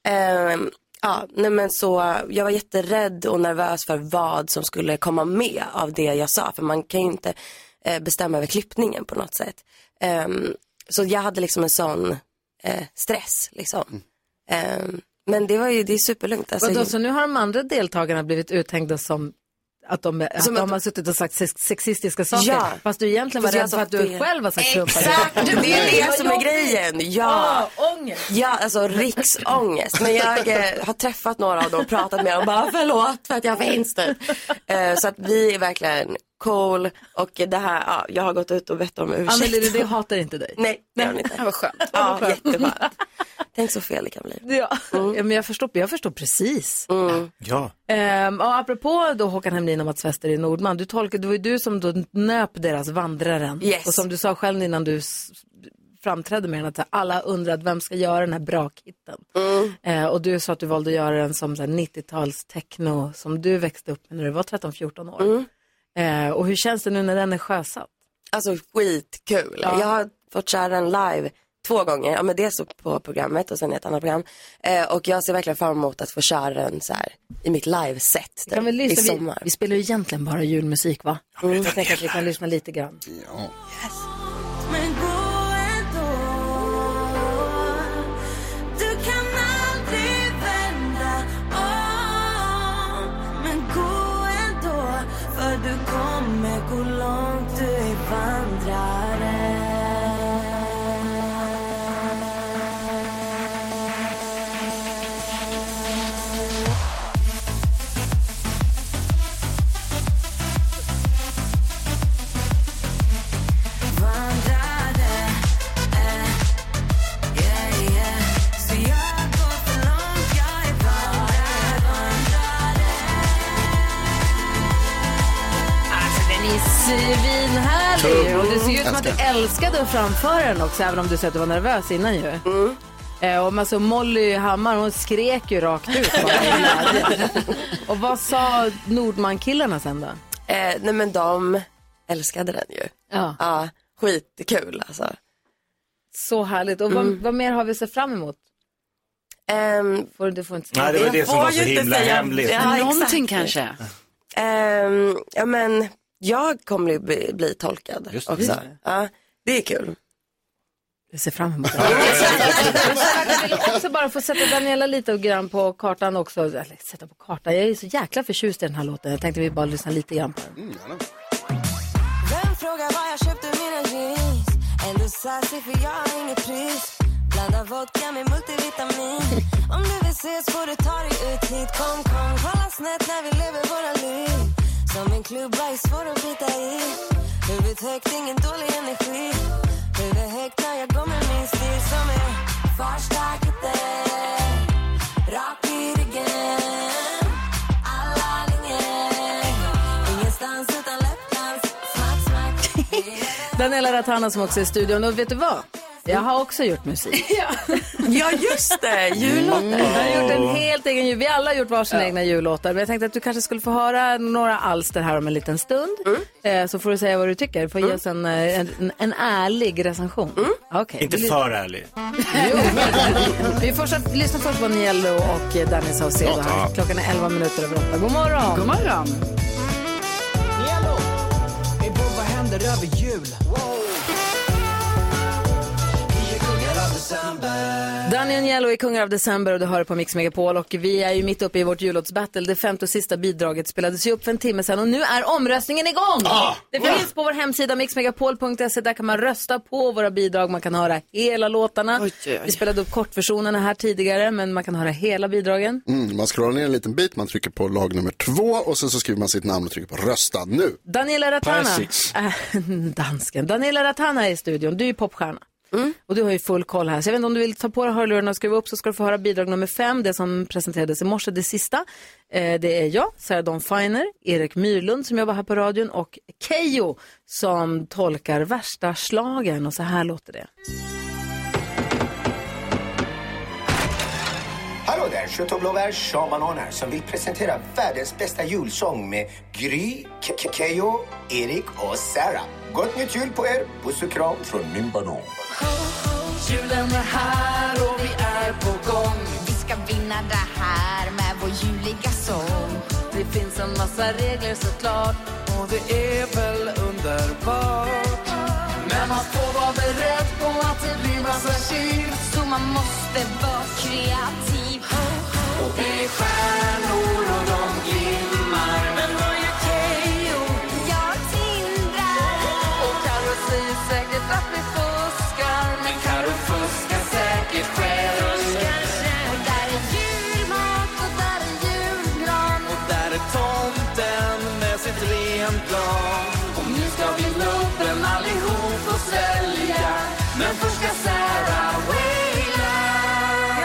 [SPEAKER 20] Ehm, ja, nej men så, jag var jätterädd och nervös för vad som skulle komma med av det jag sa. För man kan ju inte eh, bestämma över klippningen på något sätt. Ehm, så jag hade liksom en sån eh, stress liksom. Ehm, men det var ju, det är superlugnt. Alltså,
[SPEAKER 1] Vadå, så nu har de andra deltagarna blivit uthängda som att de, att
[SPEAKER 20] Som
[SPEAKER 1] de
[SPEAKER 20] att-
[SPEAKER 1] har suttit och sagt sex, sexistiska saker.
[SPEAKER 20] Ja.
[SPEAKER 1] Fast du egentligen var
[SPEAKER 20] Fast jag
[SPEAKER 1] rädd för
[SPEAKER 20] sa
[SPEAKER 1] att du
[SPEAKER 20] fel.
[SPEAKER 1] själv har sagt klumpar.
[SPEAKER 20] Exakt, det är det som är
[SPEAKER 1] Vad
[SPEAKER 20] grejen. Ja.
[SPEAKER 1] Ah,
[SPEAKER 20] Ja, alltså riksångest. Men jag eh, har träffat några av dem och pratat med dem och bara förlåt för att jag finns där. Eh, så att vi är verkligen cool och det här, ja, jag har gått ut och bett om ursäkt.
[SPEAKER 1] Anneli, det- det hatar inte dig.
[SPEAKER 20] Nej, det gör hon inte.
[SPEAKER 1] Vad skönt.
[SPEAKER 20] Ja, jätteskönt. Tänk så fel det kan bli.
[SPEAKER 1] Ja,
[SPEAKER 20] Mm.
[SPEAKER 1] ja men jag förstår, jag förstår precis.
[SPEAKER 8] Ja.
[SPEAKER 1] Ehm, och apropå då Håkan Hemlin och Mats Wester i Nordman, du tolkade, det var ju du som då nöp deras vandraren.
[SPEAKER 20] Yes.
[SPEAKER 1] Och som du sa själv innan du s- framträdde med den, att så här, alla undrade vem ska göra den här brakhitten.
[SPEAKER 20] Mm.
[SPEAKER 1] Eh, och du sa att du valde att göra den som så här 90-tals techno som du växte upp med när du var 13-14 år.
[SPEAKER 20] Mm.
[SPEAKER 1] Eh, och hur känns det nu när den är sjösatt?
[SPEAKER 20] Alltså skitkul. Jag har fått köra den live två gånger. Ja, men dels på programmet och sen i ett annat program. Eh, och jag ser verkligen fram emot att få köra den så här i mitt liveset
[SPEAKER 1] Kan vi,
[SPEAKER 20] typ, i
[SPEAKER 1] lyssna, vi,
[SPEAKER 20] sommar.
[SPEAKER 1] vi spelar ju egentligen bara julmusik va?
[SPEAKER 20] men
[SPEAKER 1] Mm,
[SPEAKER 20] den
[SPEAKER 1] jag tänker att vi kan lyssna lite grann.
[SPEAKER 7] Men gå ändå Du kan aldrig vända om Men gå ändå För du kommer gå långt Du är vandrare Vandrare eh, yeah, yeah. Så jag går för långt Jag är vandrare,
[SPEAKER 1] Alltså den är svinhärlig
[SPEAKER 7] Tum.
[SPEAKER 1] och det ser ju ut som att du
[SPEAKER 7] Älskar.
[SPEAKER 1] älskade att framföra den också även om du sa att du var nervös innan ju. Eh, och alltså Molly Hammar hon skrek ju rakt ut. bara i glädje. och vad sa Nordman-killarna sen då?
[SPEAKER 20] Eh, nej men de älskade den ju.
[SPEAKER 1] Ja.
[SPEAKER 20] ja skitkul alltså.
[SPEAKER 1] Så härligt. Och vad,
[SPEAKER 20] Mm.
[SPEAKER 1] vad mer har vi att se fram emot? får du, du får inte säga.
[SPEAKER 8] Nej, det var det som
[SPEAKER 20] får
[SPEAKER 8] var så
[SPEAKER 20] ju inte
[SPEAKER 8] himla
[SPEAKER 20] säga-
[SPEAKER 8] hemligt.
[SPEAKER 20] Ja, exakt.
[SPEAKER 9] Någonting kanske.
[SPEAKER 20] Ehm, ja men jag kommer ju bli, bli tolkad
[SPEAKER 1] Just det.
[SPEAKER 20] också.
[SPEAKER 1] Just det.
[SPEAKER 20] Ja, det är kul.
[SPEAKER 1] Jag ser fram emot det. Jag vill också bara få sätta Daniela lite grann på kartan också. Eller sätta på kartan. Jag är så jäkla förtjust i den här låten. Jag tänkte vi bara lyssnar lite grann på den.
[SPEAKER 7] Vem frågar var jag köpte mina jeans? Ändå sassy för jag har inget pris. Blanda vodka med multivitamin Om du vill ses får du ta dig ut hit Kom, kom, kolla snett när vi lever våra liv Som en klubba är svår att bita i Huvudet högt, ingen dålig energi Huvudet högt när jag går med min stil som är Farstakete, rak i ryggen Alla linjer, ingenstans utan läppglans Smack, smack, vi är
[SPEAKER 1] Daniela Ratana som också är i studion. Och vet du vad? Jag har också gjort musik.
[SPEAKER 20] Ja, just det. Jullåtar.
[SPEAKER 1] Jag har gjort en helt egen jul. Vi alla har gjort varsin egna jullåtar. Men jag tänkte att du kanske skulle få höra några alster här om en liten stund. Eh, Så får du säga vad du tycker. Får ge oss en, eh, en, en ärlig recension. Mm.
[SPEAKER 8] Inte för ärlig.
[SPEAKER 1] Vi får så, lyssna först på Niello och eh, Danny Saucedo här. Klockan är 11 minuter över 8. God morgon.
[SPEAKER 15] God morgon.
[SPEAKER 13] Hej Bob, vad händer över jul? Vi är kungar av december.
[SPEAKER 1] Danny och Niello är kungar av december och du hör på Mix Megapol och vi är ju mitt uppe i vårt jullåtsbattle. Det femte och sista bidraget spelades ju upp för en timme sedan och nu är omröstningen igång!
[SPEAKER 15] Ah!
[SPEAKER 1] Det finns på vår hemsida mixmegapol.se, där kan man rösta på våra bidrag, man kan höra hela låtarna. Vi spelade upp kortversionerna här tidigare men man kan höra hela bidragen.
[SPEAKER 3] Mm, man scrollar ner en liten bit, man trycker på lag nummer två och sen så skriver man sitt namn och trycker på rösta nu.
[SPEAKER 1] Daniela Ratana.
[SPEAKER 3] Precis.
[SPEAKER 1] Äh, dansken. Daniela Ratana är i studion. Du är ju popstjärna. Och du har ju full koll här. Så jag vet inte om du vill ta på dig hörlurarna och skruva upp så ska du få höra bidrag nummer fem, det som presenterades i morse, det sista. Eh, det är jag, Sarah Dawn Finer, Erik Myrlund som jobbar här på radion och Kejo som tolkar värsta slagen och så här låter det.
[SPEAKER 16] Hallå där, kött och blåbär shamanon här som vill presentera världens bästa julsång med Gry, Ke- Ke- Keyyo, Erik och Sarah. Gott nytt jul på er! Puss och kram från min banan.
[SPEAKER 7] Julen är här och vi är på gång Vi ska vinna det här med vår juliga sång Det finns en massa regler såklart
[SPEAKER 13] Och det är väl underbart
[SPEAKER 7] Men man får vara beredd på att det blir massa tjur Så man måste vara kreativ Och det är stjärnor och de glimmar Men vad gör Keyyo? Jag tindrar Och Carro säger säkert att vi fuskar Men Carro fuskar säkert själv Och där är julmat och där är julgran
[SPEAKER 13] Och där är tomten med sitt renplan Och nu ska vi nubben allihop och svälja Men först ska Sarah waila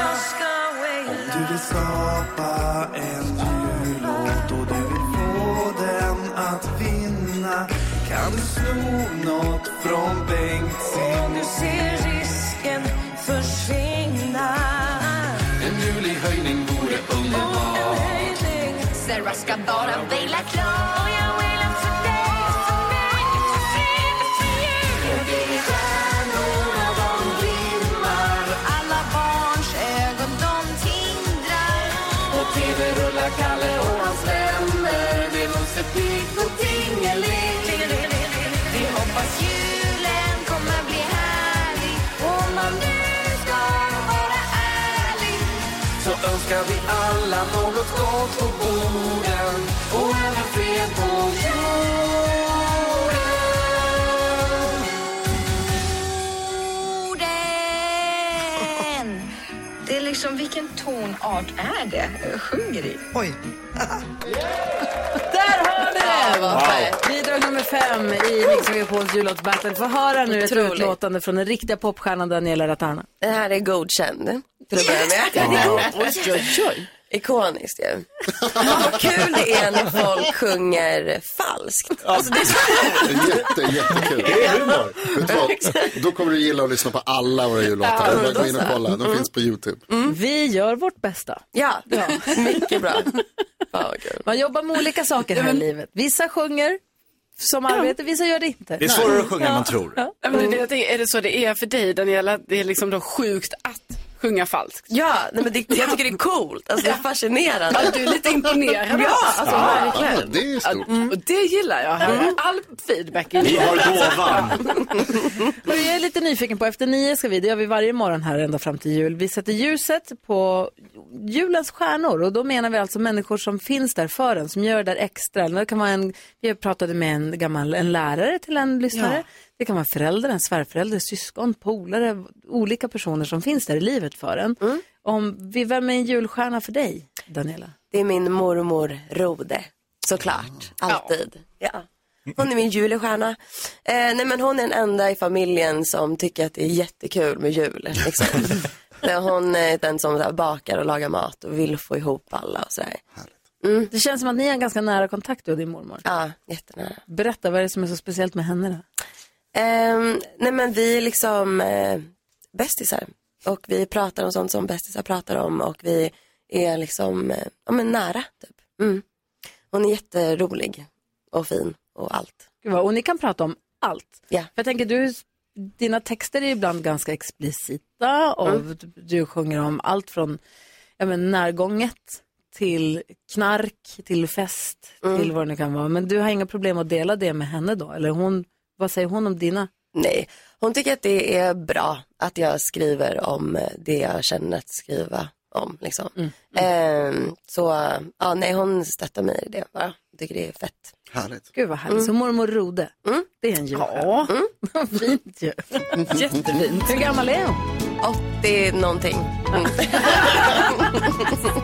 [SPEAKER 13] Jag ska waila Om du vill skapa en jullåt och du vill få den att vinna Kan du sno något från Bengtzing? Om du ser risken försvinna En julig höjning vore underbar
[SPEAKER 7] Sarah ska bara vila klart Och jag wailar för dig, för mig, för dig, för dig Och det är stjärnor och de glimmar Alla barns ögon de tindrar
[SPEAKER 13] Och TV-rullar Kalle och hans vänner Det låter pigg och tingeling
[SPEAKER 7] Vi hoppas julen kommer bli härlig Om man nu ska vara ärlig
[SPEAKER 13] Så önskar vi alla något gott på borden Och även fred på jorden
[SPEAKER 7] Orden! Det är liksom, vilken tonart är det? Sjunger i? Oj.
[SPEAKER 1] Där har ni det! Wow. Bidrag nummer fem i Mix Megapols jullåtsbattle. Få höra nu ett
[SPEAKER 20] Otroligt.
[SPEAKER 1] utlåtande från den riktiga popstjärnan Daniela Eh, Ratana.
[SPEAKER 20] Den här är godkänd. Till att börja med.
[SPEAKER 1] Oj, oj, oj.
[SPEAKER 20] Ikoniskt ju. Vad kul det är när folk sjunger falskt. Alltså, det är så...
[SPEAKER 3] Jätte, jättekul.
[SPEAKER 20] Det är humor.
[SPEAKER 3] Vet du vad? Då kommer du gilla att lyssna på alla våra jullåtar.
[SPEAKER 20] Ja,
[SPEAKER 3] Bara
[SPEAKER 20] men
[SPEAKER 3] gå in
[SPEAKER 20] då
[SPEAKER 3] och
[SPEAKER 20] så.
[SPEAKER 3] kolla, de
[SPEAKER 20] Mm.
[SPEAKER 3] finns på YouTube.
[SPEAKER 1] Vi gör vårt bästa.
[SPEAKER 20] Ja, mycket bra.
[SPEAKER 1] Man jobbar med olika saker här i livet. Vissa sjunger som arbete, vissa gör det inte.
[SPEAKER 8] Det är svårare att sjunga än man tror.
[SPEAKER 22] Ja, men det, är det, jag tänker, är det så det är för dig Daniela? Det är liksom då sjukt att sjunga falskt?
[SPEAKER 20] Ja, nej, men det, jag tycker det är coolt. Alltså, det är fascinerande.
[SPEAKER 22] Ja, du är lite imponerad.
[SPEAKER 20] Ja,
[SPEAKER 22] alltså,
[SPEAKER 20] ja.
[SPEAKER 22] verkligen.
[SPEAKER 20] Ja, det är stort. Mm.
[SPEAKER 22] Ja, och det gillar jag. All feedback är
[SPEAKER 8] Vi har
[SPEAKER 22] Ja.
[SPEAKER 8] gåvan.
[SPEAKER 1] Hörru, jag är lite nyfiken på, efter nio ska vi, det gör vi varje morgon här ända fram till jul, vi sätter ljuset på julens stjärnor och då menar vi alltså människor som finns där för en, som gör det där extra. Det kan vara en, vi pratade med en gammal en lärare till en lyssnare Det kan vara föräldrar, en svärförälder, syskon, polare, olika personer som finns där i livet för en.
[SPEAKER 20] Mm.
[SPEAKER 1] Om, vi- vem är en julstjärna för dig, Daniela?
[SPEAKER 20] Det är min mormor Rode, såklart. Alltid. Ja. Hon är min julstjärna. Eh, nej men hon är den enda i familjen som tycker att det är jättekul med jul. Liksom. Så hon är den som så här, bakar och lagar mat och vill få ihop alla och sådär. Mm.
[SPEAKER 1] Det känns som att ni har en ganska nära kontakt, du och din mormor.
[SPEAKER 20] Ja, jättenära.
[SPEAKER 1] Berätta, vad är det som är så speciellt med henne då?
[SPEAKER 20] Ehm, nej men vi är liksom eh, bästisar. Och vi pratar om sånt som bästisar pratar om och vi är liksom eh, ja, men nära. Typ. Mm. Hon är jätterolig och fin och allt.
[SPEAKER 1] Gud vad, och ni kan prata om allt. För jag tänker, du, dina texter är ju ibland ganska explicita och
[SPEAKER 20] Mm.
[SPEAKER 1] du, du sjunger om allt från ja, men, närgånget till knark, till fest,
[SPEAKER 20] Mm.
[SPEAKER 1] till vad det nu kan vara. Men du har inga problem att dela det med henne då? Eller hon, vad säger hon om dina?
[SPEAKER 20] Nej, hon tycker att det är bra att jag skriver om eh, det jag känner att skriva om. Liksom.
[SPEAKER 1] Mm,
[SPEAKER 20] Ehm, så eh, ja, nej, hon stöttar mig i det bara. Tycker det är fett.
[SPEAKER 3] Härligt.
[SPEAKER 1] Gud vad härligt.
[SPEAKER 20] Mm.
[SPEAKER 1] Så mormor Rode, det är en julstjärna. Ja. Fint ju. Jättefint. Hur gammal är hon?
[SPEAKER 20] 80 någonting. Mm.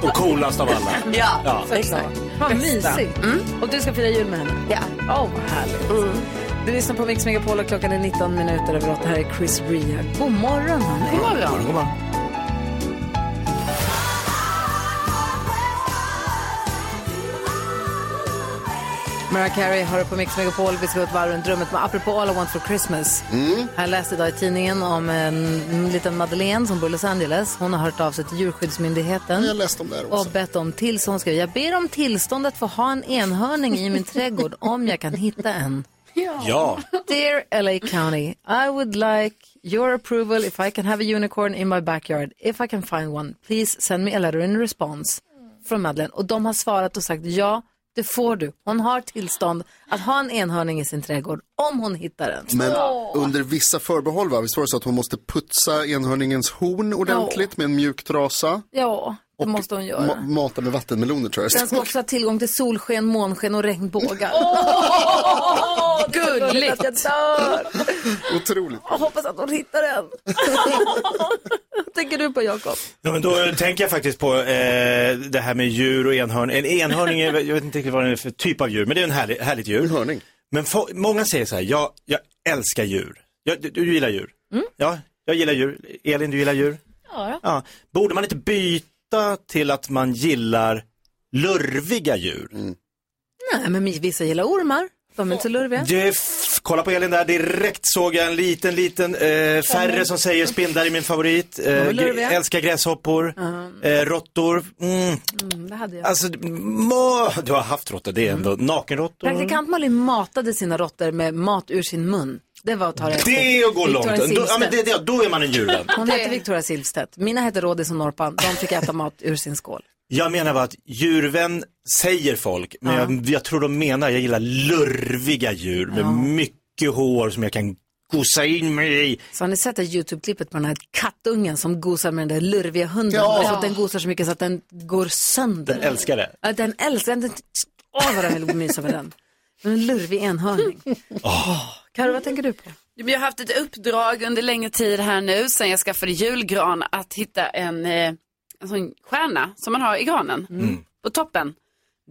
[SPEAKER 8] Och coolast av alla.
[SPEAKER 20] Ja,
[SPEAKER 1] exakt. Vad mysigt.
[SPEAKER 20] Mm.
[SPEAKER 1] Och du ska fira jul med henne?
[SPEAKER 20] Ja.
[SPEAKER 1] Åh, vad härligt. Mm. Du lyssnar på Mix Megapol och klockan är 19 minuter över 8. Här är Chris Rea. God morgon, hörni. God morgon. God morgon. Mariah Carey har du på Mix Megapol. Vi ska gå ett varv runt rummet. Men apropå All I Want For Christmas. Jag läste idag i tidningen om en liten Madeleine som bor i Los Angeles. Hon har hört av sig till Djurskyddsmyndigheten.
[SPEAKER 3] Jag läste om det här också.
[SPEAKER 1] Och bett om tillstånd. Hon skrev, jag ber om tillstånd att få ha en enhörning i min trädgård om jag kan hitta en.
[SPEAKER 8] Ja.
[SPEAKER 1] Dear LA County, I would like your approval if I can have a unicorn in my backyard. If I can find one, please send me a letter in response. Från Madeleine. Och de har svarat och sagt ja, det får du. Hon har tillstånd att ha en enhörning i sin trädgård om hon hittar den.
[SPEAKER 3] Men under vissa förbehåll, va? Visst var det så att hon måste putsa enhörningens horn ordentligt med en mjuk trasa?
[SPEAKER 1] Ja, det måste hon göra.
[SPEAKER 3] Ma- mata med vattenmeloner tror jag.
[SPEAKER 1] Den ska också ha tillgång till solsken, månsken och regnbågar.
[SPEAKER 15] Åh,
[SPEAKER 1] Gulligt! Att jag dör.
[SPEAKER 3] Otroligt.
[SPEAKER 1] Jag hoppas att hon hittar den. Vad tänker du på, Jakob?
[SPEAKER 8] Ja, men då tänker jag faktiskt på eh, det här med djur och enhörning. En enhörning, är, jag vet inte riktigt vad den är för typ av djur, men det är en härlig, härligt djur.
[SPEAKER 3] Enhörning.
[SPEAKER 8] Men fo- många säger så här, jag, jag älskar djur. Jag, du, du gillar djur?
[SPEAKER 20] Mm.
[SPEAKER 8] Ja, jag gillar djur. Elin, du gillar djur?
[SPEAKER 2] Ja,
[SPEAKER 8] Ja. Borde man inte byta till att man gillar lurviga djur?
[SPEAKER 1] Nej, men vissa gillar ormar. De är inte så lurviga.
[SPEAKER 8] Jeff, kolla på Elin där, direkt såg jag en liten, liten eh, färre som säger spindlar är min favorit. Eh,
[SPEAKER 1] var lurviga.
[SPEAKER 8] gr- älskar gräshoppor, eh, råttor. Mm.
[SPEAKER 1] Mm, det hade jag. Mm.
[SPEAKER 8] Alltså, må... du har haft råttor, det är ändå nakenråttor.
[SPEAKER 1] Praktikant Malin matade sina råttor med mat ur sin mun. Det var att ta det.
[SPEAKER 8] Det är att gå
[SPEAKER 1] Victoria
[SPEAKER 8] långt. Då, ja, men
[SPEAKER 1] Silvstedt.
[SPEAKER 8] det, det, då är man en djurvän.
[SPEAKER 1] Hon heter Victoria Silvstedt. Mina heter Rådis och Norpan. De fick äta mat ur sin skål.
[SPEAKER 8] Jag menar bara att djurvän säger folk, men jag, jag tror de menar, jag gillar lurviga djur med mycket hår som jag kan gosa in mig i.
[SPEAKER 1] Så har ni sett det YouTube-klippet på den här kattungen som gosar med den där lurviga hunden?
[SPEAKER 8] Ja.
[SPEAKER 1] Alltså att den gosar så mycket så att den går sönder.
[SPEAKER 8] Den älskar det.
[SPEAKER 1] Ja, den älskar den. Åh, vad den vill mysa med den. Men en lurvig enhörning. Karo, vad tänker du på?
[SPEAKER 9] Jag har haft ett uppdrag under längre tid här nu sen jag skaffade julgran att hitta en, eh, en sån stjärna som man har i granen på toppen.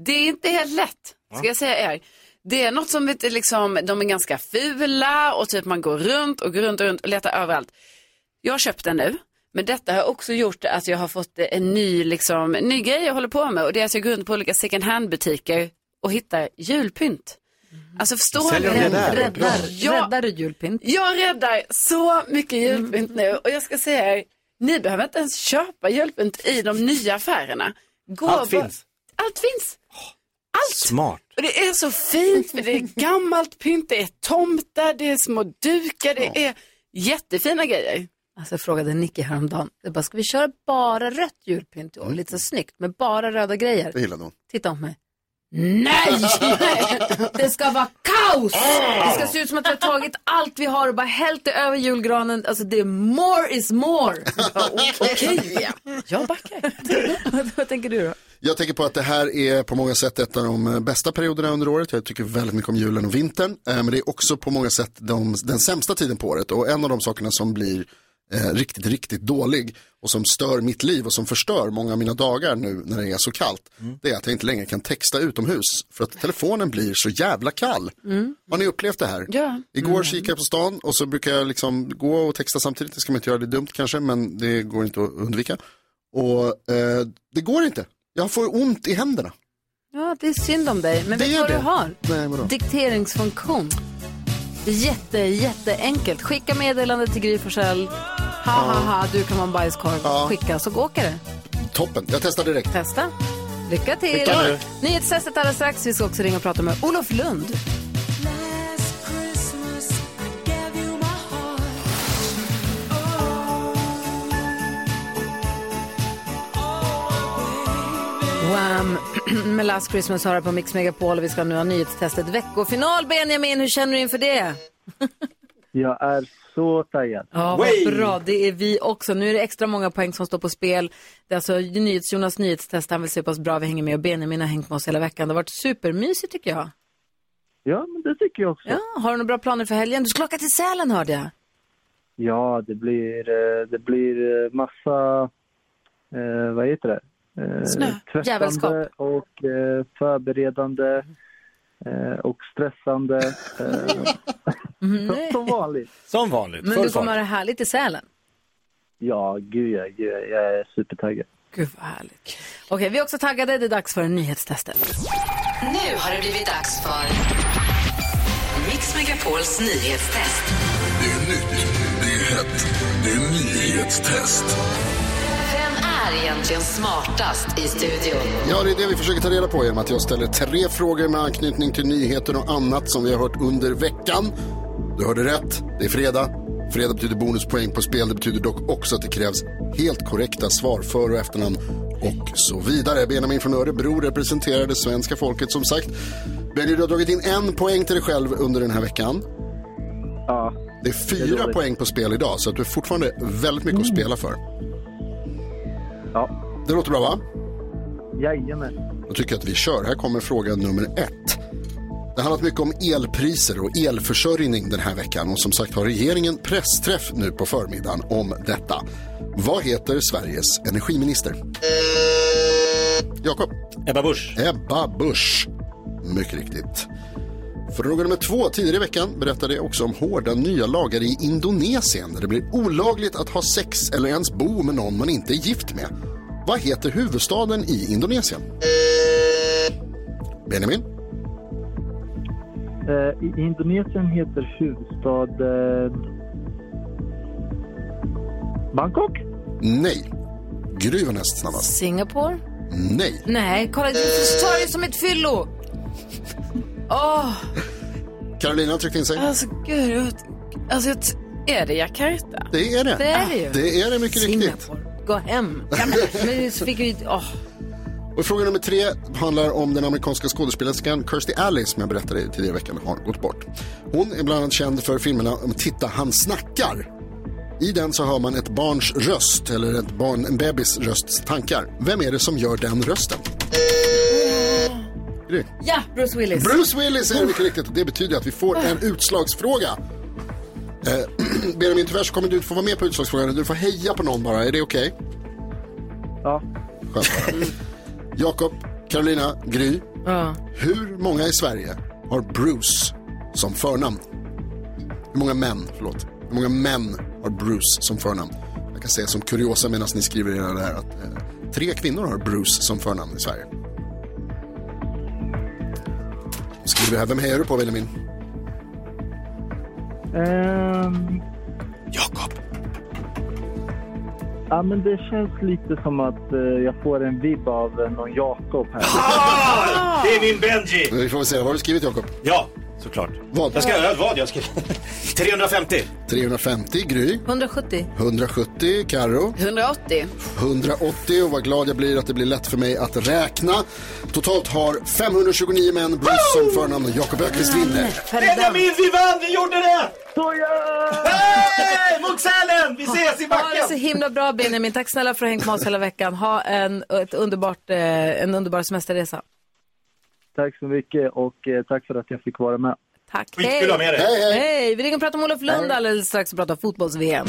[SPEAKER 9] Det är inte helt lätt, ska jag säga er. Det är något som vet, du, liksom, de är ganska fula och typ man går runt och går runt och runt och letar överallt. Jag har köpt den nu, men detta har också gjort att jag har fått en ny, liksom, en ny grej jag håller på med och det är att jag går runt på olika second hand-butiker och hittar julpynt. Alltså förstår
[SPEAKER 1] Säljer de det där? Räddar-
[SPEAKER 9] räddar
[SPEAKER 1] du julpynt?
[SPEAKER 9] Jag räddar så mycket julpynt nu och jag ska säga er, ni behöver inte ens köpa julpynt i de nya affärerna. Gå
[SPEAKER 8] Allt
[SPEAKER 9] bara-
[SPEAKER 8] finns.
[SPEAKER 9] Allt finns. Allt.
[SPEAKER 8] Smart.
[SPEAKER 9] Och det är så fint för det är gammalt pynt, det är tomtar, det är små dukar, det är jättefina grejer.
[SPEAKER 1] Alltså jag frågade Nicky häromdagen. Jag bara, ska vi köra bara rött julpynt i år? Lite så snyggt, med bara röda grejer.
[SPEAKER 3] Mm. Det gillade hon.
[SPEAKER 1] Titta på mig. Nej! det ska vara kaos! Det ska se ut som att vi har tagit allt vi har och bara hällt det över julgranen. Alltså det är more is more. Jag bara, Okej, jag backar. Vad tänker du då?
[SPEAKER 3] Jag tänker på att det här är på många sätt ett av de eh, bästa perioderna under året. Jag tycker väldigt mycket om julen och vintern. Eh, Men det är också på många sätt de, den sämsta tiden på året. Och en av de sakerna som blir eh, riktigt, riktigt dålig och som stör mitt liv och som förstör många av mina dagar nu när det är så kallt. Mm. Det är att jag inte längre kan texta utomhus för att telefonen blir så jävla kall.
[SPEAKER 15] Mm.
[SPEAKER 3] Har ni upplevt det här?
[SPEAKER 22] Ja.
[SPEAKER 3] Igår kikade jag på stan och så brukar jag liksom gå och texta samtidigt. Det ska man inte göra, det är dumt kanske, men det går inte att undvika. Och eh, det går inte. Jag får ont i händerna.
[SPEAKER 1] Ja, det är synd om dig. Men
[SPEAKER 3] Det
[SPEAKER 1] vet du
[SPEAKER 3] är
[SPEAKER 1] vad
[SPEAKER 3] det.
[SPEAKER 1] du har?
[SPEAKER 3] Nej, vadå?
[SPEAKER 1] Dikteringsfunktion. Det är jätte, jätteenkelt. Skicka meddelande till Gry Forssell. Ha, ha, ha, du kan vara en bajskorv. Skicka, så åker det.
[SPEAKER 3] Toppen, jag testar direkt.
[SPEAKER 1] Testa. Lycka till.
[SPEAKER 3] Lycka nu.
[SPEAKER 1] Nyhetstestet alldeles strax. Vi ska också ringa och prata med Olof Lund. Wham! med Last Christmas har här på Mix Megapol och vi ska nu ha nyhetstestet veckofinal. Benjamin, hur känner du inför det?
[SPEAKER 23] Jag är så taggad.
[SPEAKER 1] Ja, vad bra. Det är vi också. Nu är det extra många poäng som står på spel. Det är alltså nyhets, Jonas nyhetstest. Han vill se hur pass bra vi hänger med och Benjamin har hängt med oss hela veckan. Det har varit supermysigt tycker jag.
[SPEAKER 23] Ja, men det tycker jag också.
[SPEAKER 1] Ja, har du några bra planer för helgen? Du ska åka till Sälen hörde jag.
[SPEAKER 23] Ja, det blir, eh, det blir eh, massa, eh, vad heter det?
[SPEAKER 17] Uh,
[SPEAKER 23] Eh,
[SPEAKER 1] Snö.
[SPEAKER 23] tvättande
[SPEAKER 1] Jävelskap.
[SPEAKER 23] och eh, förberedande eh, och stressande. Eh, som, som vanligt.
[SPEAKER 8] Som vanligt.
[SPEAKER 1] Mm, Men du kommer ha det härligt i Sälen.
[SPEAKER 23] Ja, gud ja, gud ja, jag är supertaggad.
[SPEAKER 1] Gud vad härligt. Okej, vi är också taggade. Det är dags för nyhetstestet.
[SPEAKER 19] Nu har det blivit dags för Mix Megapols nyhetstest.
[SPEAKER 15] Det är nytt, det är hett, det är nyhetstest.
[SPEAKER 19] Vem är egentligen smartast i studion?
[SPEAKER 3] Ja, det är det vi försöker ta reda på genom att jag ställer tre frågor med anknytning till nyheter och annat som vi har hört under veckan. Du hörde rätt, det är fredag. Fredag betyder bonuspoäng på spel. Det betyder dock också att det krävs helt korrekta svar för och efternamn och så vidare. Benjamin från Örebro representerar det svenska folket som sagt. Benny, du har dragit in en poäng till dig själv under den här veckan.
[SPEAKER 23] Ja.
[SPEAKER 3] Det är fyra poäng på spel idag, så att du har fortfarande väldigt mycket att spela för.
[SPEAKER 23] Ja.
[SPEAKER 3] Det låter bra, va?
[SPEAKER 23] Jajamän.
[SPEAKER 3] Då tycker jag att vi kör. Här kommer fråga nummer ett. Det har handlat mycket om elpriser och elförsörjning den här veckan och som sagt har regeringen pressträff nu på förmiddagen om detta. Vad heter Sveriges energiminister? Jakob.
[SPEAKER 8] Ebba Busch.
[SPEAKER 3] Ebba Busch. Mycket riktigt. Fråga nummer två. Tidigare i veckan berättade jag också om hårda nya lagar i Indonesien där det blir olagligt att ha sex eller ens bo med någon man inte är gift med. Vad heter huvudstaden i Indonesien? Benjamin?
[SPEAKER 23] Eh, I Indonesien heter eh, huvudstaden Bangkok?
[SPEAKER 3] Nej. Gry var näst snabbast.
[SPEAKER 1] Singapore?
[SPEAKER 3] Nej.
[SPEAKER 1] Nej, kolla. Du tar det som ett fyllo. Åh,
[SPEAKER 3] Carolina har tryckt in sig.
[SPEAKER 22] Alltså gud, jag, alltså, jag, är det Jakarta?
[SPEAKER 3] Det är det.
[SPEAKER 1] Det är det ju.
[SPEAKER 3] Det är det mycket riktigt.
[SPEAKER 1] gå hem. Ja, men- Men så fick vi... Åh.
[SPEAKER 3] Och fråga nummer tre handlar om den amerikanska skådespelerskan Kirstie Alley som jag berättade i tidigare veckan har gått bort. Hon är bland annat känd för filmerna om Titta han snackar. I den så hör man ett barns röst eller ett barn, en bebis rösts tankar. Vem är det som gör den rösten?
[SPEAKER 1] Eh.
[SPEAKER 3] Gry.
[SPEAKER 1] Ja, Bruce Willis.
[SPEAKER 3] Bruce Willis är det mycket riktigt och det betyder att vi får en utslagsfråga. Eh, Benjamin, tyvärr så kommer du inte få vara med på utslagsfrågan. Du får heja på någon bara, är det okej?
[SPEAKER 23] Ja.
[SPEAKER 3] Skönt Jakob, Carolina, Gry.
[SPEAKER 1] Ja.
[SPEAKER 3] Hur många i Sverige har Bruce som förnamn? Hur många män, förlåt. Hur många män har Bruce som förnamn? Jag kan säga som kuriosa medan ni skriver era det här att eh, tre kvinnor har Bruce som förnamn i Sverige. Skriver här, vem hejar du på Benjamin?
[SPEAKER 23] Ehm... Jakob. Ja, men det känns lite som att eh, jag får en vibb av eh, någon Jakob här.
[SPEAKER 8] Det är min Benji!
[SPEAKER 3] Vi får väl se, vad har du skrivit Jakob?
[SPEAKER 8] Ja, såklart.
[SPEAKER 3] Vad?
[SPEAKER 8] Jag ska, vad jag ska... 350.
[SPEAKER 3] 350, Gry.
[SPEAKER 1] 170.
[SPEAKER 3] 170, Karo.
[SPEAKER 22] 180.
[SPEAKER 3] 180 och vad glad jag blir att det blir lätt för mig att räkna. Totalt har 529 män Bruce som förnamn och Jakob Öqvist vinner.
[SPEAKER 8] Benjamin, vi vann! Vi gjorde det!
[SPEAKER 23] Såja!
[SPEAKER 8] Hej! Munksälen! Vi ses i
[SPEAKER 1] Ha det så
[SPEAKER 8] backen!
[SPEAKER 1] himla bra Benjamin. Tack snälla för att ha hängt med oss hela veckan. Ha en, ett underbart, eh, en underbar semesterresa.
[SPEAKER 23] Tack så mycket och eh, tack för att jag fick vara med.
[SPEAKER 1] Tack.
[SPEAKER 23] Skitkul att ha med dig. Hej, hej.
[SPEAKER 1] hej. Vi ringer och pratar om Olof Lund alldeles strax och pratar fotbolls-VM.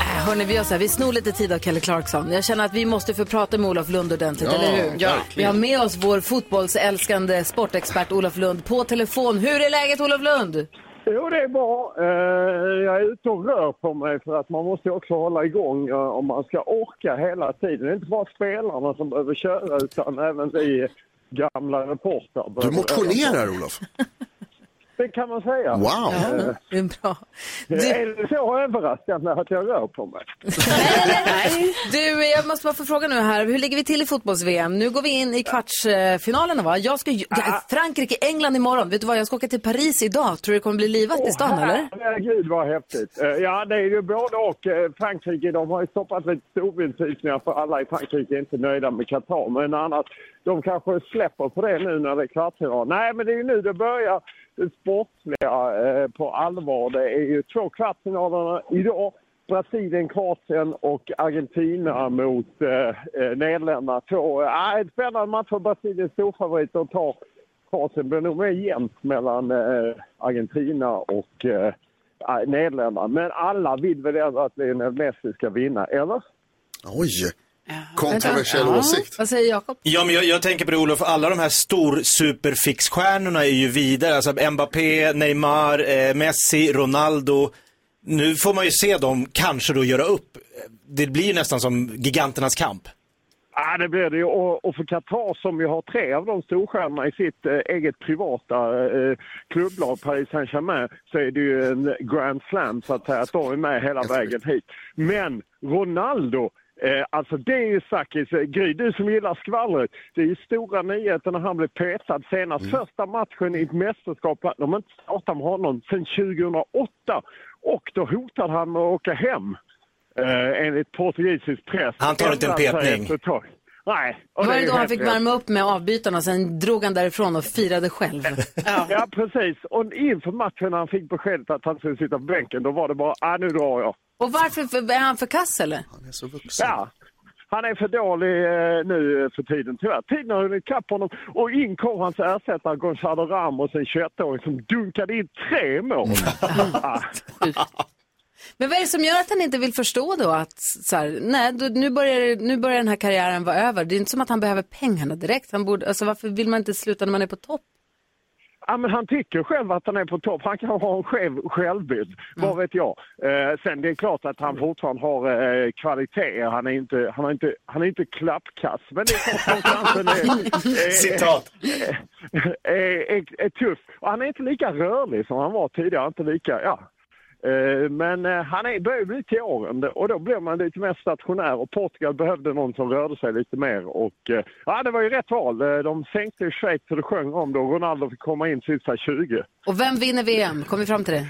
[SPEAKER 1] Äh, Hörni, vi gör så här, vi snor lite tid av Kelly Clarkson. Jag känner att vi måste få prata med Olof Lund ordentligt,
[SPEAKER 13] Ja,
[SPEAKER 1] eller hur?
[SPEAKER 13] Ja.
[SPEAKER 1] Vi
[SPEAKER 13] verkligen.
[SPEAKER 1] har med oss vår fotbollsälskande sportexpert Olof Lund på telefon. Hur är läget Olof Lund?
[SPEAKER 12] Jo, det är bra. Eh, Jag är ute och rör på mig för att man måste ju också hålla igång eh, om man ska orka hela tiden. Det är inte bara spelarna som behöver köra utan även vi gamla reportrar.
[SPEAKER 3] Du
[SPEAKER 12] behöver röra
[SPEAKER 3] motionerar
[SPEAKER 12] på oss.
[SPEAKER 3] Olof.
[SPEAKER 12] Det kan man säga.
[SPEAKER 3] Wow.
[SPEAKER 1] Ja,
[SPEAKER 12] Eh,
[SPEAKER 1] det är bra.
[SPEAKER 12] Är det så överraskande att jag rör på mig?
[SPEAKER 1] Du, jag måste bara få fråga nu här. Hur ligger vi till i fotbolls-VM? Nu går vi in i kvartsfinalerna va? Jag ska ju- ja, Frankrike, England imorgon. Vet du vad, jag ska åka till Paris idag. Tror du det kommer bli livat i stan eller?
[SPEAKER 12] Herregud vad häftigt. Eh, Ja, det är ju både och. Eh, Frankrike, de har ju stoppat lite storvindsvisningar för alla i Frankrike är inte nöjda med Qatar. Men annars, de kanske släpper på det nu när det är kvartsfinal. Nej, men det är ju nu det börjar det sportsliga eh, på allvar. Det är ju två kvartsfinalerna idag. Brasilien, Kroatien och Argentina mot eh, eh, Nederländerna. Två, eh, ett spännande match för Brasilien storfavorit att ta Kroatien blir nog mer jämnt mellan eh, Argentina och eh, Nederländerna. Men alla vill väl ändå att Lionel Messi ska vinna, eller?
[SPEAKER 3] Oj! Kontroversiell
[SPEAKER 1] Ja.
[SPEAKER 3] åsikt.
[SPEAKER 1] Vad säger Jakob?
[SPEAKER 8] Ja, men jag, jag tänker på det Olof, alla de här stor-superfixstjärnorna är ju vidare. Alltså Mbappé, Neymar, eh, Messi, Ronaldo. Nu får man ju se dem kanske då göra upp. Det blir ju nästan som giganternas kamp.
[SPEAKER 12] Ja, det blir det ju. Och, och för Qatar som ju har tre av de storstjärnorna i sitt eh, eget privata eh, klubblag, Paris Saint-Germain, så är det ju en grand slam så att säga, att de är med hela vägen hit. Men Ronaldo, eh, alltså det är ju Sakis, eh, Gry, du som gillar skvallret, det är ju stora nyheter när han blev petad senast.
[SPEAKER 8] Mm.
[SPEAKER 12] Första matchen i ett mästerskap, de har inte startat med honom sedan 2008 och då hotade han med att åka hem. Eh, enligt portugisisk press.
[SPEAKER 8] Han tar inte en
[SPEAKER 12] Ändrade sig
[SPEAKER 8] petning.
[SPEAKER 12] efter ett tag. Nej. och
[SPEAKER 1] Det var
[SPEAKER 12] är
[SPEAKER 1] det
[SPEAKER 12] ju
[SPEAKER 1] då han
[SPEAKER 12] helt
[SPEAKER 1] fick
[SPEAKER 12] rätt.
[SPEAKER 1] värma upp med avbytarna, sen drog han därifrån och firade själv.
[SPEAKER 12] Ja, precis. Och inför matchen när han fick beskedet att han skulle sitta på bänken, då var det bara, ah, nu drar jag.
[SPEAKER 1] Och varför, för, är han för kass eller?
[SPEAKER 3] Han är så vuxen.
[SPEAKER 12] Ja. Han är för dålig eh, nu eh, för tiden, tyvärr. Tiden har hunnit ikapp honom. Och in kom hans ersättare Gonzalo Ramos, en 21-åring som dunkade in tre mål.
[SPEAKER 3] Mm.
[SPEAKER 12] Ja.
[SPEAKER 1] Men vad är det som gör att han inte vill förstå då att så här, nej, då, nu, börjar, nu börjar den här karriären vara över. Det är inte som att han behöver pengarna direkt. Han borde, alltså, varför vill man inte sluta när man är på topp?
[SPEAKER 12] Ja, men han tycker själv att han är på topp. Han kan ha en skev självbild, vad vet jag. Eh, sen det är klart att han fortfarande har eh, kvaliteter. Han är inte, han är inte, han är inte klappkass. Men det är klart konkurrensen är... eh,
[SPEAKER 8] Citat.
[SPEAKER 12] Är, är, är eh, tuff. Och han är inte lika rörlig som han var tidigare. Inte lika, ja. Eh, Men eh, han är, börjar bli till åren och då blir man lite mer stationär och Portugal behövde någon som rörde sig lite mer. Och, eh, ja, det var ju rätt val. Eh, De sänkte ju Schweiz så det sjöng om det och Ronaldo fick komma in sista 20.
[SPEAKER 1] Och vem vinner VM? Kom vi fram till det?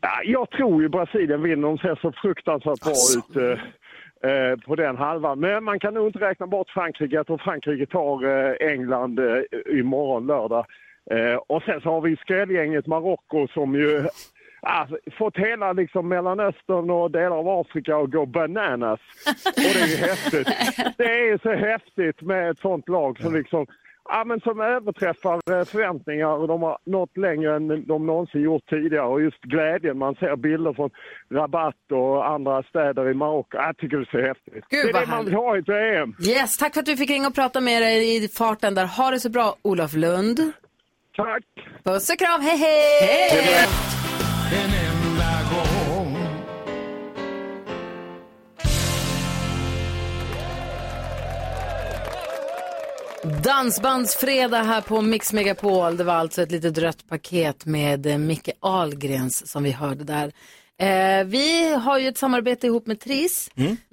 [SPEAKER 12] Ja, Jag tror ju Brasilien vinner. De ser så fruktansvärt bra ut eh, eh, på den halvan. Men man kan nog inte räkna bort Frankrike. Jag tror Frankrike tar eh, England eh, imorgon lördag. Eh, och sen så har vi skrällgänget Marocko som ju ah, fått hela liksom, Mellanöstern och delar av Afrika att gå bananas. Och det är ju häftigt. Det är ju så häftigt med ett sånt lag som liksom Ja, men som överträffar eh, förväntningar och de har nått längre än de någonsin gjort tidigare. Och just glädjen, man ser bilder från Rabat och andra städer i Marocko. Jag tycker det är så häftigt. det är
[SPEAKER 1] vad
[SPEAKER 12] det man
[SPEAKER 1] härligt.
[SPEAKER 12] vill ha i ett EM.
[SPEAKER 1] Yes, tack för att vi fick ringa och prata med dig i farten där. Ha det så bra, Olof Lund.
[SPEAKER 12] Tack.
[SPEAKER 1] Puss och kram, hej hej! hej.
[SPEAKER 15] En enda gång
[SPEAKER 1] Dansbandsfredag här på Mix Megapol. Det var alltså ett litet rött paket med eh, Micke Ahlgrens som vi hörde där. Eh, vi har ju ett samarbete ihop med Tris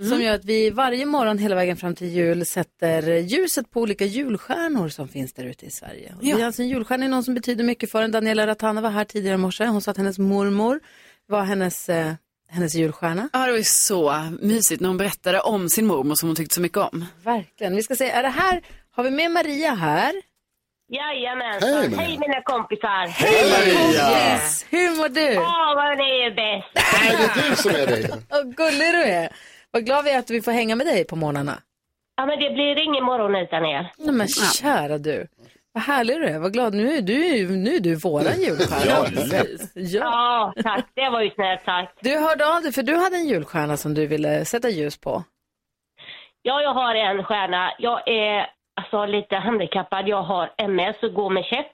[SPEAKER 1] som gör att vi varje morgon hela vägen fram till jul sätter ljuset på olika julstjärnor som finns där ute i Sverige. Och Det är alltså en julstjärna är någon som betyder mycket för en. Daniela Ratana var här tidigare i morse. Hon sa att hennes mormor var hennes, eh, hennes julstjärna.
[SPEAKER 22] Ja, det var ju så mysigt när hon berättade om sin mormor som hon tyckte så mycket om.
[SPEAKER 1] Verkligen. Vi ska se, är det här, har vi med Maria här?
[SPEAKER 11] Jajamensan.
[SPEAKER 3] Hej,
[SPEAKER 11] Hej,
[SPEAKER 3] Maria.
[SPEAKER 11] mina kompisar.
[SPEAKER 3] Hej, Maria. Yes.
[SPEAKER 1] Hur mår du?
[SPEAKER 11] Åh, vad ni är bäst.
[SPEAKER 3] Nej, det är du som är det.
[SPEAKER 1] Vad gullig du är. Vad glad vi är att vi får hänga med dig på morgnarna.
[SPEAKER 11] Ja, men det blir ingen morgon utan er.
[SPEAKER 1] Nej, men kära du. Vad härlig du är. Vad glad. Nu är du, nu är du våran julstjärna.
[SPEAKER 11] Ja,
[SPEAKER 1] precis.
[SPEAKER 11] Ja, tack. Det var ju snällt sagt.
[SPEAKER 1] Du hörde av dig, för du hade en julstjärna som du ville sätta ljus på.
[SPEAKER 11] Ja, jag har en stjärna. Jag är alltså, lite handikappad. Jag har MS och går med käpp.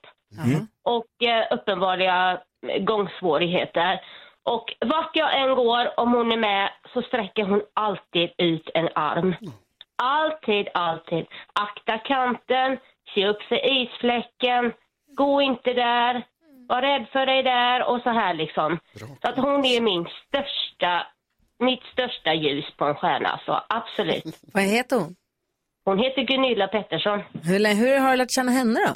[SPEAKER 11] Och eh, uppenbarliga eh, gångsvårigheter. Och vart jag än går, om hon är med, så sträcker hon alltid ut en arm. Alltid, alltid. Akta kanten, se upp för isfläcken, gå inte där, var rädd för dig där och så här liksom. Så att hon är min största, mitt största ljus på en stjärna, så absolut.
[SPEAKER 1] Vad heter hon?
[SPEAKER 11] Hon heter Gunilla Pettersson.
[SPEAKER 1] Hur, lä- hur har du lärt känna henne då?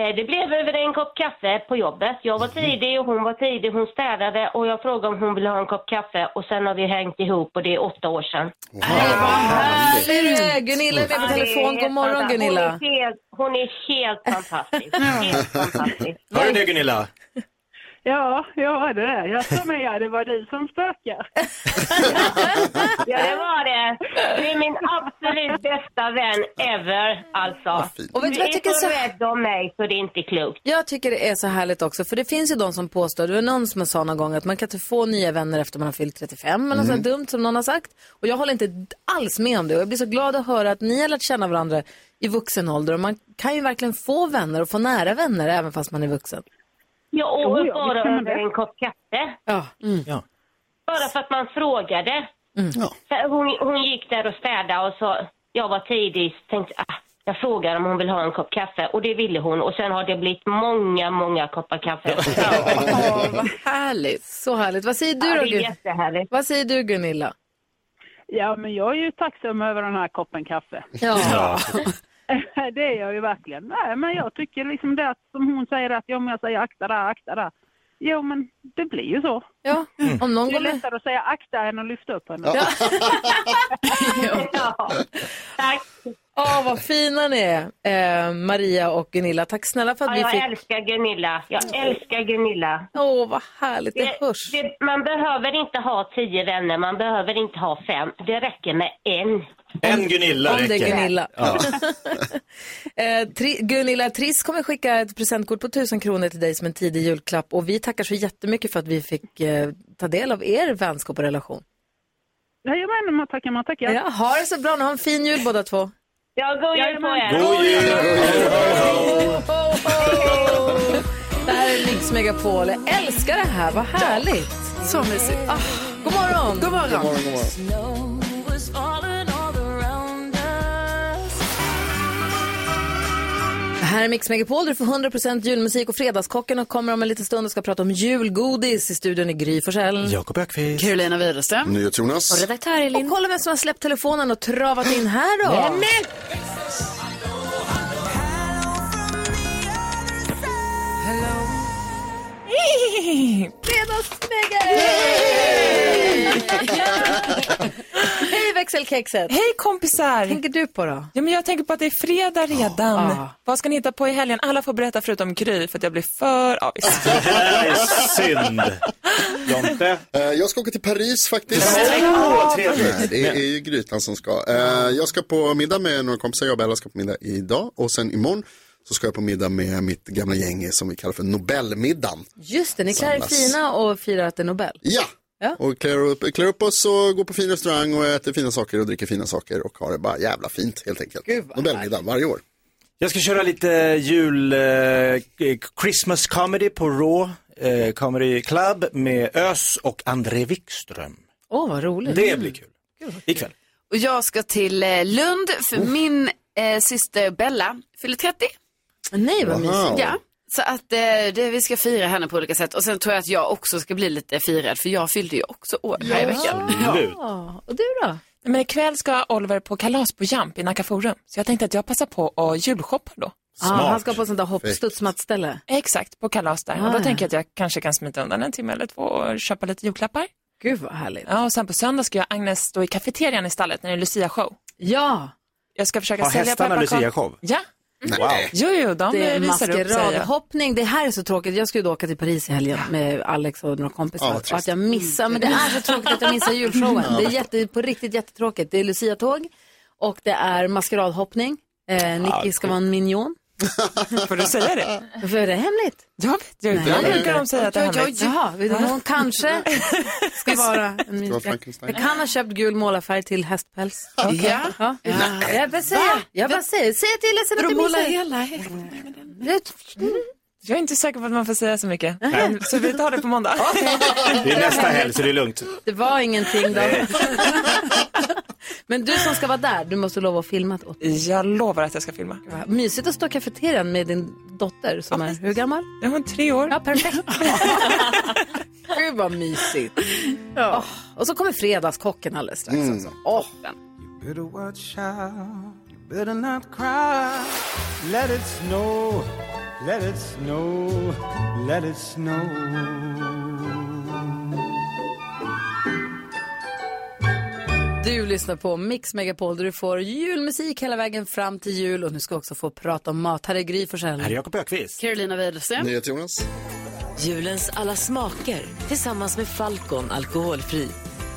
[SPEAKER 11] Eh, Det blev över en kopp kaffe på jobbet. Jag var tidig och hon var tidig. Hon städade och jag frågade om hon ville ha en kopp kaffe och sen har vi hängt ihop och det är åtta år sedan.
[SPEAKER 1] Härligt! Gunilla är med på
[SPEAKER 11] Ja, det är
[SPEAKER 1] telefon. God
[SPEAKER 11] helt
[SPEAKER 1] morgon
[SPEAKER 11] fantastiskt.
[SPEAKER 1] Gunilla.
[SPEAKER 11] Hon är helt, hon är helt fantastisk. Helt fantastisk.
[SPEAKER 8] Var det det Gunilla?
[SPEAKER 24] Ja, jag var det där. Jag sa mig, ja, det var du som spökar.
[SPEAKER 11] Ja, det var det. Det är min absolut bästa vän ever, alltså.
[SPEAKER 1] Och vet du vad jag tycker
[SPEAKER 11] är så
[SPEAKER 1] så-
[SPEAKER 11] rädd om mig så det är inte klokt.
[SPEAKER 1] Jag tycker det är så härligt också, för det finns ju de som påstår, det var någon som sa någon gång att man kan inte få nya vänner efter man har fyllt 35, eller något
[SPEAKER 11] Mm.
[SPEAKER 1] sånt dumt som någon har sagt. Och jag håller inte d- alls med om det och jag blir så glad att höra att ni har lärt känna varandra i vuxen ålder och man kan ju verkligen få vänner och få nära vänner även fast man är vuxen.
[SPEAKER 11] Jag
[SPEAKER 1] Jo,
[SPEAKER 11] åt
[SPEAKER 1] ja,
[SPEAKER 11] bara
[SPEAKER 1] visst kan man
[SPEAKER 11] över
[SPEAKER 1] det.
[SPEAKER 11] en kopp kaffe.
[SPEAKER 1] Ja.
[SPEAKER 8] Ja.
[SPEAKER 11] Bara för att man frågade.
[SPEAKER 1] Mm.
[SPEAKER 11] Så Hon, hon gick där och städade och så, jag var tidig, så tänkte ah, jag frågar om hon vill ha en kopp kaffe och det ville hon och sen har det blivit många, många koppar kaffe.
[SPEAKER 1] Härligt. Så härligt. Vad säger du
[SPEAKER 24] Ja,
[SPEAKER 1] då?
[SPEAKER 24] det är
[SPEAKER 1] Gun- Vad säger du Gunilla?
[SPEAKER 24] Ja, men jag är ju tacksam över den här koppen kaffe.
[SPEAKER 1] Ja.
[SPEAKER 24] det är jag ju verkligen. Nej, men jag tycker liksom det att, som hon säger att om jag säger akta där, akta där. Jo, men det blir ju så.
[SPEAKER 1] Ja,
[SPEAKER 8] Mm.
[SPEAKER 1] om någon
[SPEAKER 24] det är
[SPEAKER 1] går med-
[SPEAKER 24] lättare att säga akta än att lyfta upp henne.
[SPEAKER 1] Ja.
[SPEAKER 11] Tack.
[SPEAKER 1] Åh, vad fina ni är, eh, Maria och Gunilla. Tack snälla för att
[SPEAKER 11] Ja,
[SPEAKER 1] vi
[SPEAKER 11] jag
[SPEAKER 1] fick...
[SPEAKER 11] älskar Gunilla. Jag älskar Gunilla.
[SPEAKER 1] Åh, vad härligt. Det hörs.
[SPEAKER 11] det, man behöver inte ha tio vänner, man behöver inte ha fem. Det räcker med en.
[SPEAKER 8] En Gunilla
[SPEAKER 1] om det är
[SPEAKER 8] räcker.
[SPEAKER 1] Gunilla.
[SPEAKER 8] Ja.
[SPEAKER 1] Eh, tri- Gunilla Triss kommer skicka ett presentkort på 1000 kronor till dig som en tidig julklapp. Och vi tackar så jättemycket för att vi fick eh, ta del av er vänskap och relation.
[SPEAKER 24] Jajamän, man tackar, man tackar.
[SPEAKER 1] Ja, ha det så bra. Nu har en fin jul båda två.
[SPEAKER 11] Ja, god jul på er!
[SPEAKER 1] God Det här är Mix Megapol. Jag älskar det här. Vad härligt. Så mysigt. Ah, god morgon. God morgon.
[SPEAKER 15] Snow was falling all around us.
[SPEAKER 1] Det här är Mix Megapol. Du får 100% julmusik och Fredagskocken och kommer om en liten stund och ska prata om julgodis. I studion i Gry Forssell.
[SPEAKER 8] Jakob Ökvist.
[SPEAKER 1] Carolina Widerström.
[SPEAKER 3] Nyhets-Jonas.
[SPEAKER 1] Och redaktör Elin. Och kolla vem som har släppt telefonen och travat in här då.
[SPEAKER 3] Nämen!
[SPEAKER 1] Hej växelkexet!
[SPEAKER 6] Hej kompisar!
[SPEAKER 1] tänker du på då?
[SPEAKER 6] Ja, men jag tänker på att det är fredag redan.
[SPEAKER 1] Ah.
[SPEAKER 6] Vad ska ni hitta på i helgen? Alla får berätta förutom Gry för att jag blir för avis.
[SPEAKER 8] Synd. Jonte?
[SPEAKER 3] Eh, Jag ska åka till Paris faktiskt.
[SPEAKER 8] Åh, trevligt.
[SPEAKER 3] Nej, Det är ju Grytan som ska. Eh, Jag ska på middag med några kompisar, jag och Bella ska på middag idag och sen imorgon så ska jag på middag med mitt gamla gäng som vi kallar för Nobelmiddagen.
[SPEAKER 1] Just det, ni klär er
[SPEAKER 3] Samlas.
[SPEAKER 1] fina och firar att det är Nobel.
[SPEAKER 3] Ja, och klär upp, klär upp oss och går på fin restaurang och äter fina saker och dricker fina saker och har det bara jävla fint helt enkelt. Nobelmiddagen varje år.
[SPEAKER 8] Jag ska köra lite jul, eh, Christmas comedy på Raw eh, Comedy Club med Ös och André Wikström.
[SPEAKER 1] Åh, vad roligt.
[SPEAKER 8] Det blir kul. Ikväll.
[SPEAKER 9] Och jag ska till eh, Lund för min eh, syster Bella fyller 30.
[SPEAKER 1] Nej,
[SPEAKER 9] vad
[SPEAKER 1] Wow. mysigt.
[SPEAKER 9] Ja, så att eh, det, vi ska fira henne på olika sätt. Och sen tror jag att jag också ska bli lite firad för jag fyllde ju också år här i veckan.
[SPEAKER 1] Ja. Och du då?
[SPEAKER 6] Men ikväll ska Oliver på kalas på Jump i Nacka Forum. Så jag tänkte att jag passar på att julshoppa då.
[SPEAKER 1] Ah, han ska på sånt där hoppstudsmattställe.
[SPEAKER 6] Exakt, på kalas där. och
[SPEAKER 1] Ah,
[SPEAKER 6] då
[SPEAKER 1] ja.
[SPEAKER 6] tänker jag att jag kanske kan smita undan en timme eller två och köpa lite julklappar.
[SPEAKER 1] Gud vad härligt.
[SPEAKER 6] Ja, och sen på söndag ska jag och Agnes stå i kafeterian i stallet när det är Lucia-show.
[SPEAKER 1] Ja.
[SPEAKER 6] Jag ska försöka
[SPEAKER 8] Har
[SPEAKER 6] sälja
[SPEAKER 8] hästarna
[SPEAKER 6] pepparkakor.
[SPEAKER 8] Lucia-show?
[SPEAKER 6] Ja, Jo, jo, de
[SPEAKER 1] det är
[SPEAKER 6] visar upp sig.
[SPEAKER 1] maskeradhoppning. Det här är så tråkigt. Jag skulle då åka till Paris i helgen med Alex och några kompisar.
[SPEAKER 24] Ja, vad
[SPEAKER 1] och
[SPEAKER 24] trist.
[SPEAKER 1] att jag missar. Men det är så tråkigt att jag missar julshowen.
[SPEAKER 24] Ja.
[SPEAKER 1] Det är jätte, på riktigt jättetråkigt. Det är Lucia-tåg och det är maskeradhoppning. Eh, Nicky ska vara en minion.
[SPEAKER 6] Får du säga det?
[SPEAKER 1] För är det hemligt?
[SPEAKER 6] Jag vet ju inte.
[SPEAKER 1] Nej,
[SPEAKER 6] Jag brukar de säga att det är
[SPEAKER 1] Oj, oj,
[SPEAKER 6] hemligt.
[SPEAKER 1] oj. Jaha, hon kanske ska vara en
[SPEAKER 6] vara
[SPEAKER 1] minsträ.
[SPEAKER 6] Frankenstein.
[SPEAKER 1] Jag kan ha köpt gul målarfärg till hästpäls.
[SPEAKER 6] Okej.
[SPEAKER 1] Ja. Jag bara säger, jag bara säger, säg till Lasse att
[SPEAKER 6] Vadå,
[SPEAKER 1] du
[SPEAKER 6] måla
[SPEAKER 1] missar.
[SPEAKER 6] hela Jag är inte säker på att man får säga så mycket.
[SPEAKER 8] Nej.
[SPEAKER 6] Så vi tar det på måndag.
[SPEAKER 8] Det är nästa helg så det är lugnt.
[SPEAKER 1] Det var ingenting då. Men du som ska vara där, du måste lova att filma åt
[SPEAKER 6] Jag lovar att jag ska filma.
[SPEAKER 1] Mysigt att stå i kafeterian med din dotter som är hur gammal?
[SPEAKER 6] Ja, hon är tre år.
[SPEAKER 1] Ja, perfekt. Gud vad mysigt.
[SPEAKER 15] Oh,
[SPEAKER 1] Åh, och så kommer fredagskocken alldeles strax
[SPEAKER 15] Mm.
[SPEAKER 1] också. Åh.
[SPEAKER 15] Better watch out, you better not cry. Let it snow, let it snow, let it snow.
[SPEAKER 1] Du lyssnar på Mix Megapol där du får julmusik hela vägen fram till jul och nu ska vi också få prata om mat. Här är Gry Forssell.
[SPEAKER 8] Här är Jakob Ökvist.
[SPEAKER 9] Carolina Widerström.
[SPEAKER 3] NyhetsJonas.
[SPEAKER 10] Julens alla smaker tillsammans med Falcon alkoholfri.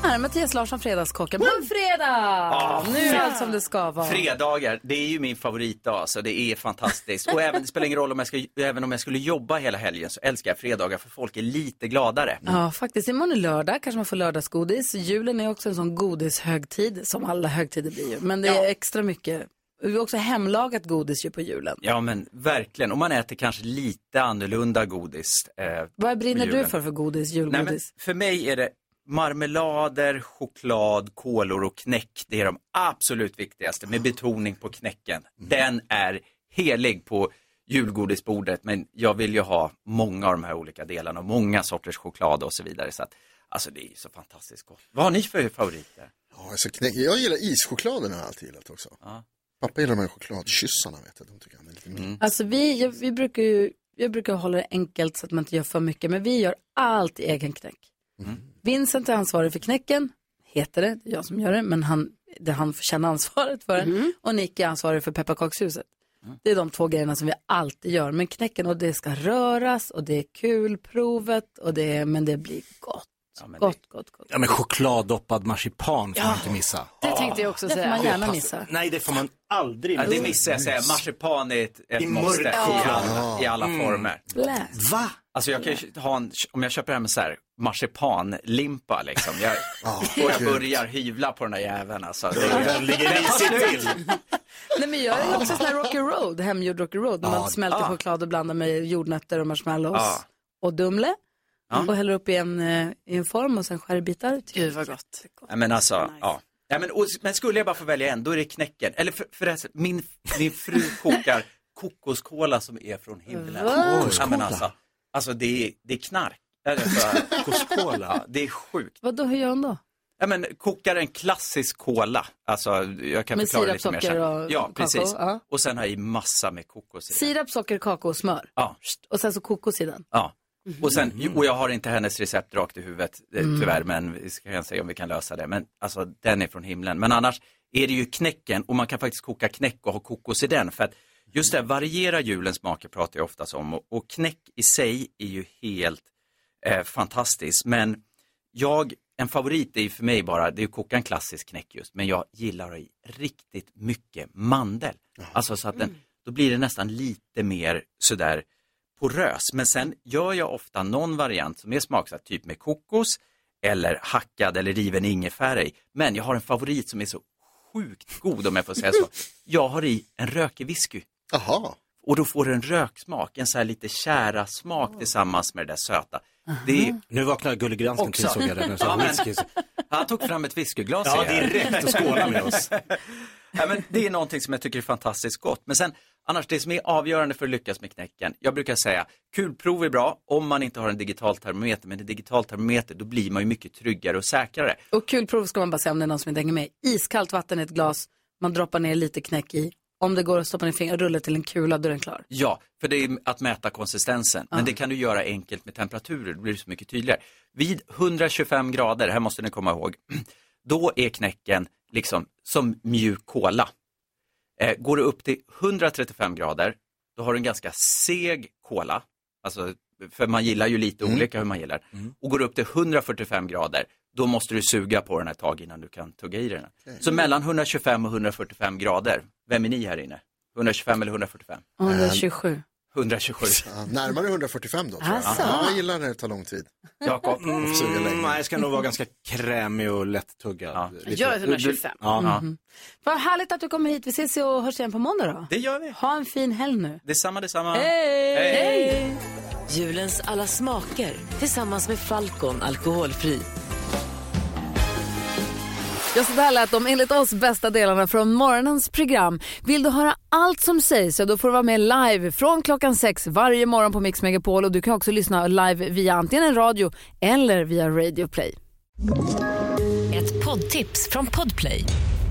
[SPEAKER 1] Här är Mattias Larsson, Fredagskocken. På fredag!
[SPEAKER 10] Ah,
[SPEAKER 1] nu är
[SPEAKER 10] fred-
[SPEAKER 1] allt som det ska vara.
[SPEAKER 14] Fredagar, det är ju min favoritdag så det är fantastiskt. Och även, det spelar ingen roll om jag, ska, även om jag skulle jobba hela helgen så älskar jag fredagar för folk är lite gladare.
[SPEAKER 1] Ja, faktiskt. Imorgon är lördag, kanske man får lördagsgodis. Julen är också en sån godishögtid, som alla högtider blir ju. Men det är extra mycket. Vi har också hemlagat godis ju på julen.
[SPEAKER 14] Ja men verkligen, och man äter kanske lite annorlunda godis. Eh,
[SPEAKER 1] Vad
[SPEAKER 14] på
[SPEAKER 1] brinner du
[SPEAKER 14] julen.
[SPEAKER 1] för för godis,
[SPEAKER 14] Nej,
[SPEAKER 1] julgodis?
[SPEAKER 14] men för mig är det marmelader, choklad, kolor och knäck. Det är de absolut viktigaste med betoning på knäcken. Den är helig på julgodisbordet men jag vill ju ha många av de här olika delarna och många sorters choklad och så vidare. Så att, alltså det är ju så fantastiskt gott. Vad har ni för favoriter?
[SPEAKER 3] Ja, alltså knäck. Jag gillar ischokladen har jag alltid gillat också. Pappa gillar de här chokladkyssarna vet jag. De tycker han är lite mm.
[SPEAKER 1] Alltså vi, jag, vi brukar ju, jag brukar hålla det enkelt så att man inte gör för mycket, men vi gör allt i egen knäck. Vincent är ansvarig för knäcken, heter det, det är jag som gör det, men han, det han får känna ansvaret för det. Och Nick är ansvarig för pepparkakshuset. Det är de två grejerna som vi alltid gör, men knäcken och det ska röras och det är kul, provet och det, är- men det blir gott. gott, gott, gott.
[SPEAKER 8] Ja men chokladdoppad marsipan får man inte missa.
[SPEAKER 1] Det tänkte jag också Det får säga. man gärna
[SPEAKER 8] passar-
[SPEAKER 1] missa.
[SPEAKER 8] Nej det får man aldrig
[SPEAKER 14] Ja, det missar jag säga, marsipan är ett,
[SPEAKER 8] I
[SPEAKER 14] ett
[SPEAKER 8] mörk
[SPEAKER 14] måste i
[SPEAKER 8] choklad.
[SPEAKER 14] alla, i alla
[SPEAKER 8] Mm.
[SPEAKER 14] former.
[SPEAKER 1] Blä.
[SPEAKER 8] Va?
[SPEAKER 14] Alltså jag kan ju ha en, om jag köper hem en så här marsipanlimpa liksom. Jag,
[SPEAKER 8] Ja,
[SPEAKER 14] och jag
[SPEAKER 8] gud.
[SPEAKER 14] börjar hyvla på den där jäveln alltså. Det,
[SPEAKER 8] Den ligger
[SPEAKER 14] tar
[SPEAKER 8] risigt
[SPEAKER 14] slut.
[SPEAKER 1] Nej men jag är också sån här Rocky Road, hemgjord Rocky Road, när man
[SPEAKER 14] Ja,
[SPEAKER 1] smälter
[SPEAKER 14] ja.
[SPEAKER 1] choklad och blandar med jordnötter och marshmallows
[SPEAKER 14] Ja.
[SPEAKER 1] och Dumle.
[SPEAKER 14] Ja.
[SPEAKER 1] Och häller upp i en, eh, i en form och sen skär i bitar. Gud vad gott.
[SPEAKER 14] Ja, men alltså, ja. ja men, och, men skulle jag bara få välja en, då är det knäcken. Eller för, förresten, min, min fru kokar kokoskola som är från himlen.
[SPEAKER 1] Va?
[SPEAKER 14] Ja, men alltså, alltså det, är, det är knark. Eller så- Ja, det är sjukt.
[SPEAKER 1] Vad då hur gör hon då?
[SPEAKER 14] Ja, men kokar en klassisk kola. Alltså, jag kan
[SPEAKER 1] Med
[SPEAKER 14] förklara det
[SPEAKER 1] sirap,
[SPEAKER 14] lite mer
[SPEAKER 1] socker
[SPEAKER 14] sen.
[SPEAKER 1] och
[SPEAKER 14] Ja,
[SPEAKER 1] kakao,
[SPEAKER 14] precis.
[SPEAKER 1] ja.
[SPEAKER 14] Och sen har jag i massa med kokos i.
[SPEAKER 1] Sirap, socker, kakao och smör.
[SPEAKER 14] Ja.
[SPEAKER 1] Och sen så kokos i den.
[SPEAKER 14] Ja. Och, sen, och jag har inte hennes recept rakt i huvudet eh,
[SPEAKER 1] Mm.
[SPEAKER 14] tyvärr, men vi ska kan se om vi kan lösa det. Men alltså den är från himlen. Men annars är det ju knäcken och man kan faktiskt koka knäck och ha kokos i den. För att just det, här, variera julens smaker pratar jag oftast om och, och knäck i sig är ju helt eh, fantastiskt. Men jag, en favorit är ju för mig bara, det är att koka en klassisk knäck just, men jag gillar att ha i riktigt mycket mandel. Alltså så att den, då blir det nästan lite mer sådär porös. Men sen gör jag ofta någon variant som är smaksatt, typ med kokos eller hackad eller riven ingefära i. Men jag har en favorit som är så sjukt god om jag får säga så. Jag har i en rökig whisky.
[SPEAKER 3] Aha.
[SPEAKER 14] Och då får du en röksmak, en så här lite kära smak tillsammans med det där söta. Det är...
[SPEAKER 8] Nu vaknar Gullegransken
[SPEAKER 14] Oh,
[SPEAKER 8] till såg jag det när jag sa
[SPEAKER 14] Ja, men-
[SPEAKER 8] whisky.
[SPEAKER 14] Han tog fram ett whiskyglas
[SPEAKER 8] Ja,
[SPEAKER 14] igen.
[SPEAKER 8] direkt och skåla med oss.
[SPEAKER 14] Ja, men det är någonting som jag tycker är fantastiskt gott. Men sen, annars det som är avgörande för att lyckas med knäcken. Jag brukar säga, kulprov är bra om man inte har en digital termometer. Men en digital termometer, då blir man ju mycket tryggare och säkrare.
[SPEAKER 1] Och kul prov ska man bara säga om det är någon som inte hänger med. Iskallt vatten i ett glas, man droppar ner lite knäck i. Om det går att stoppa ner fingret, rulla till en kula, då är den klar.
[SPEAKER 14] Ja, för det är att mäta konsistensen. Men det kan du göra enkelt med temperaturer, då blir det så mycket tydligare. Vid 125 grader, här måste ni komma ihåg, då är knäcken liksom som mjuk kola. Eh, går det upp till 135 grader, då har du en ganska seg kola. Alltså, för man gillar ju lite olika hur man gillar. Och går det upp till 145 grader, då måste du suga på den ett tag innan du kan tugga i den. Så mellan 125 och 145 grader, vem är ni här inne? 125 eller 145?
[SPEAKER 3] 127.
[SPEAKER 14] 127.
[SPEAKER 3] Eh, Ja, närmare 145 då tror jag.
[SPEAKER 14] Alltså.
[SPEAKER 3] Ja, jag gillar när det tar lång tid.
[SPEAKER 8] Jakob,
[SPEAKER 3] Mm,
[SPEAKER 8] mm, nej, jag ska nog vara ganska krämig och lättuggad. Ja.
[SPEAKER 1] Gör 125.
[SPEAKER 8] Ja.
[SPEAKER 1] Mhm. Vad härligt att du kommer hit. Vi ses och hörs igen på måndag då.
[SPEAKER 14] Det gör vi.
[SPEAKER 1] Ha en fin helg nu.
[SPEAKER 14] Detsamma, detsamma.
[SPEAKER 1] Hej!
[SPEAKER 2] Hej! Julens alla smaker tillsammans med Falcon alkoholfri.
[SPEAKER 1] Ja, så där lät de enligt oss bästa delarna från morgonens program. Vill du höra allt som sägs så då får du vara med live från klockan sex varje morgon på Mix Megapol och du kan också lyssna live via antingen en radio eller via Radio Play.
[SPEAKER 2] Ett poddtips från Podplay.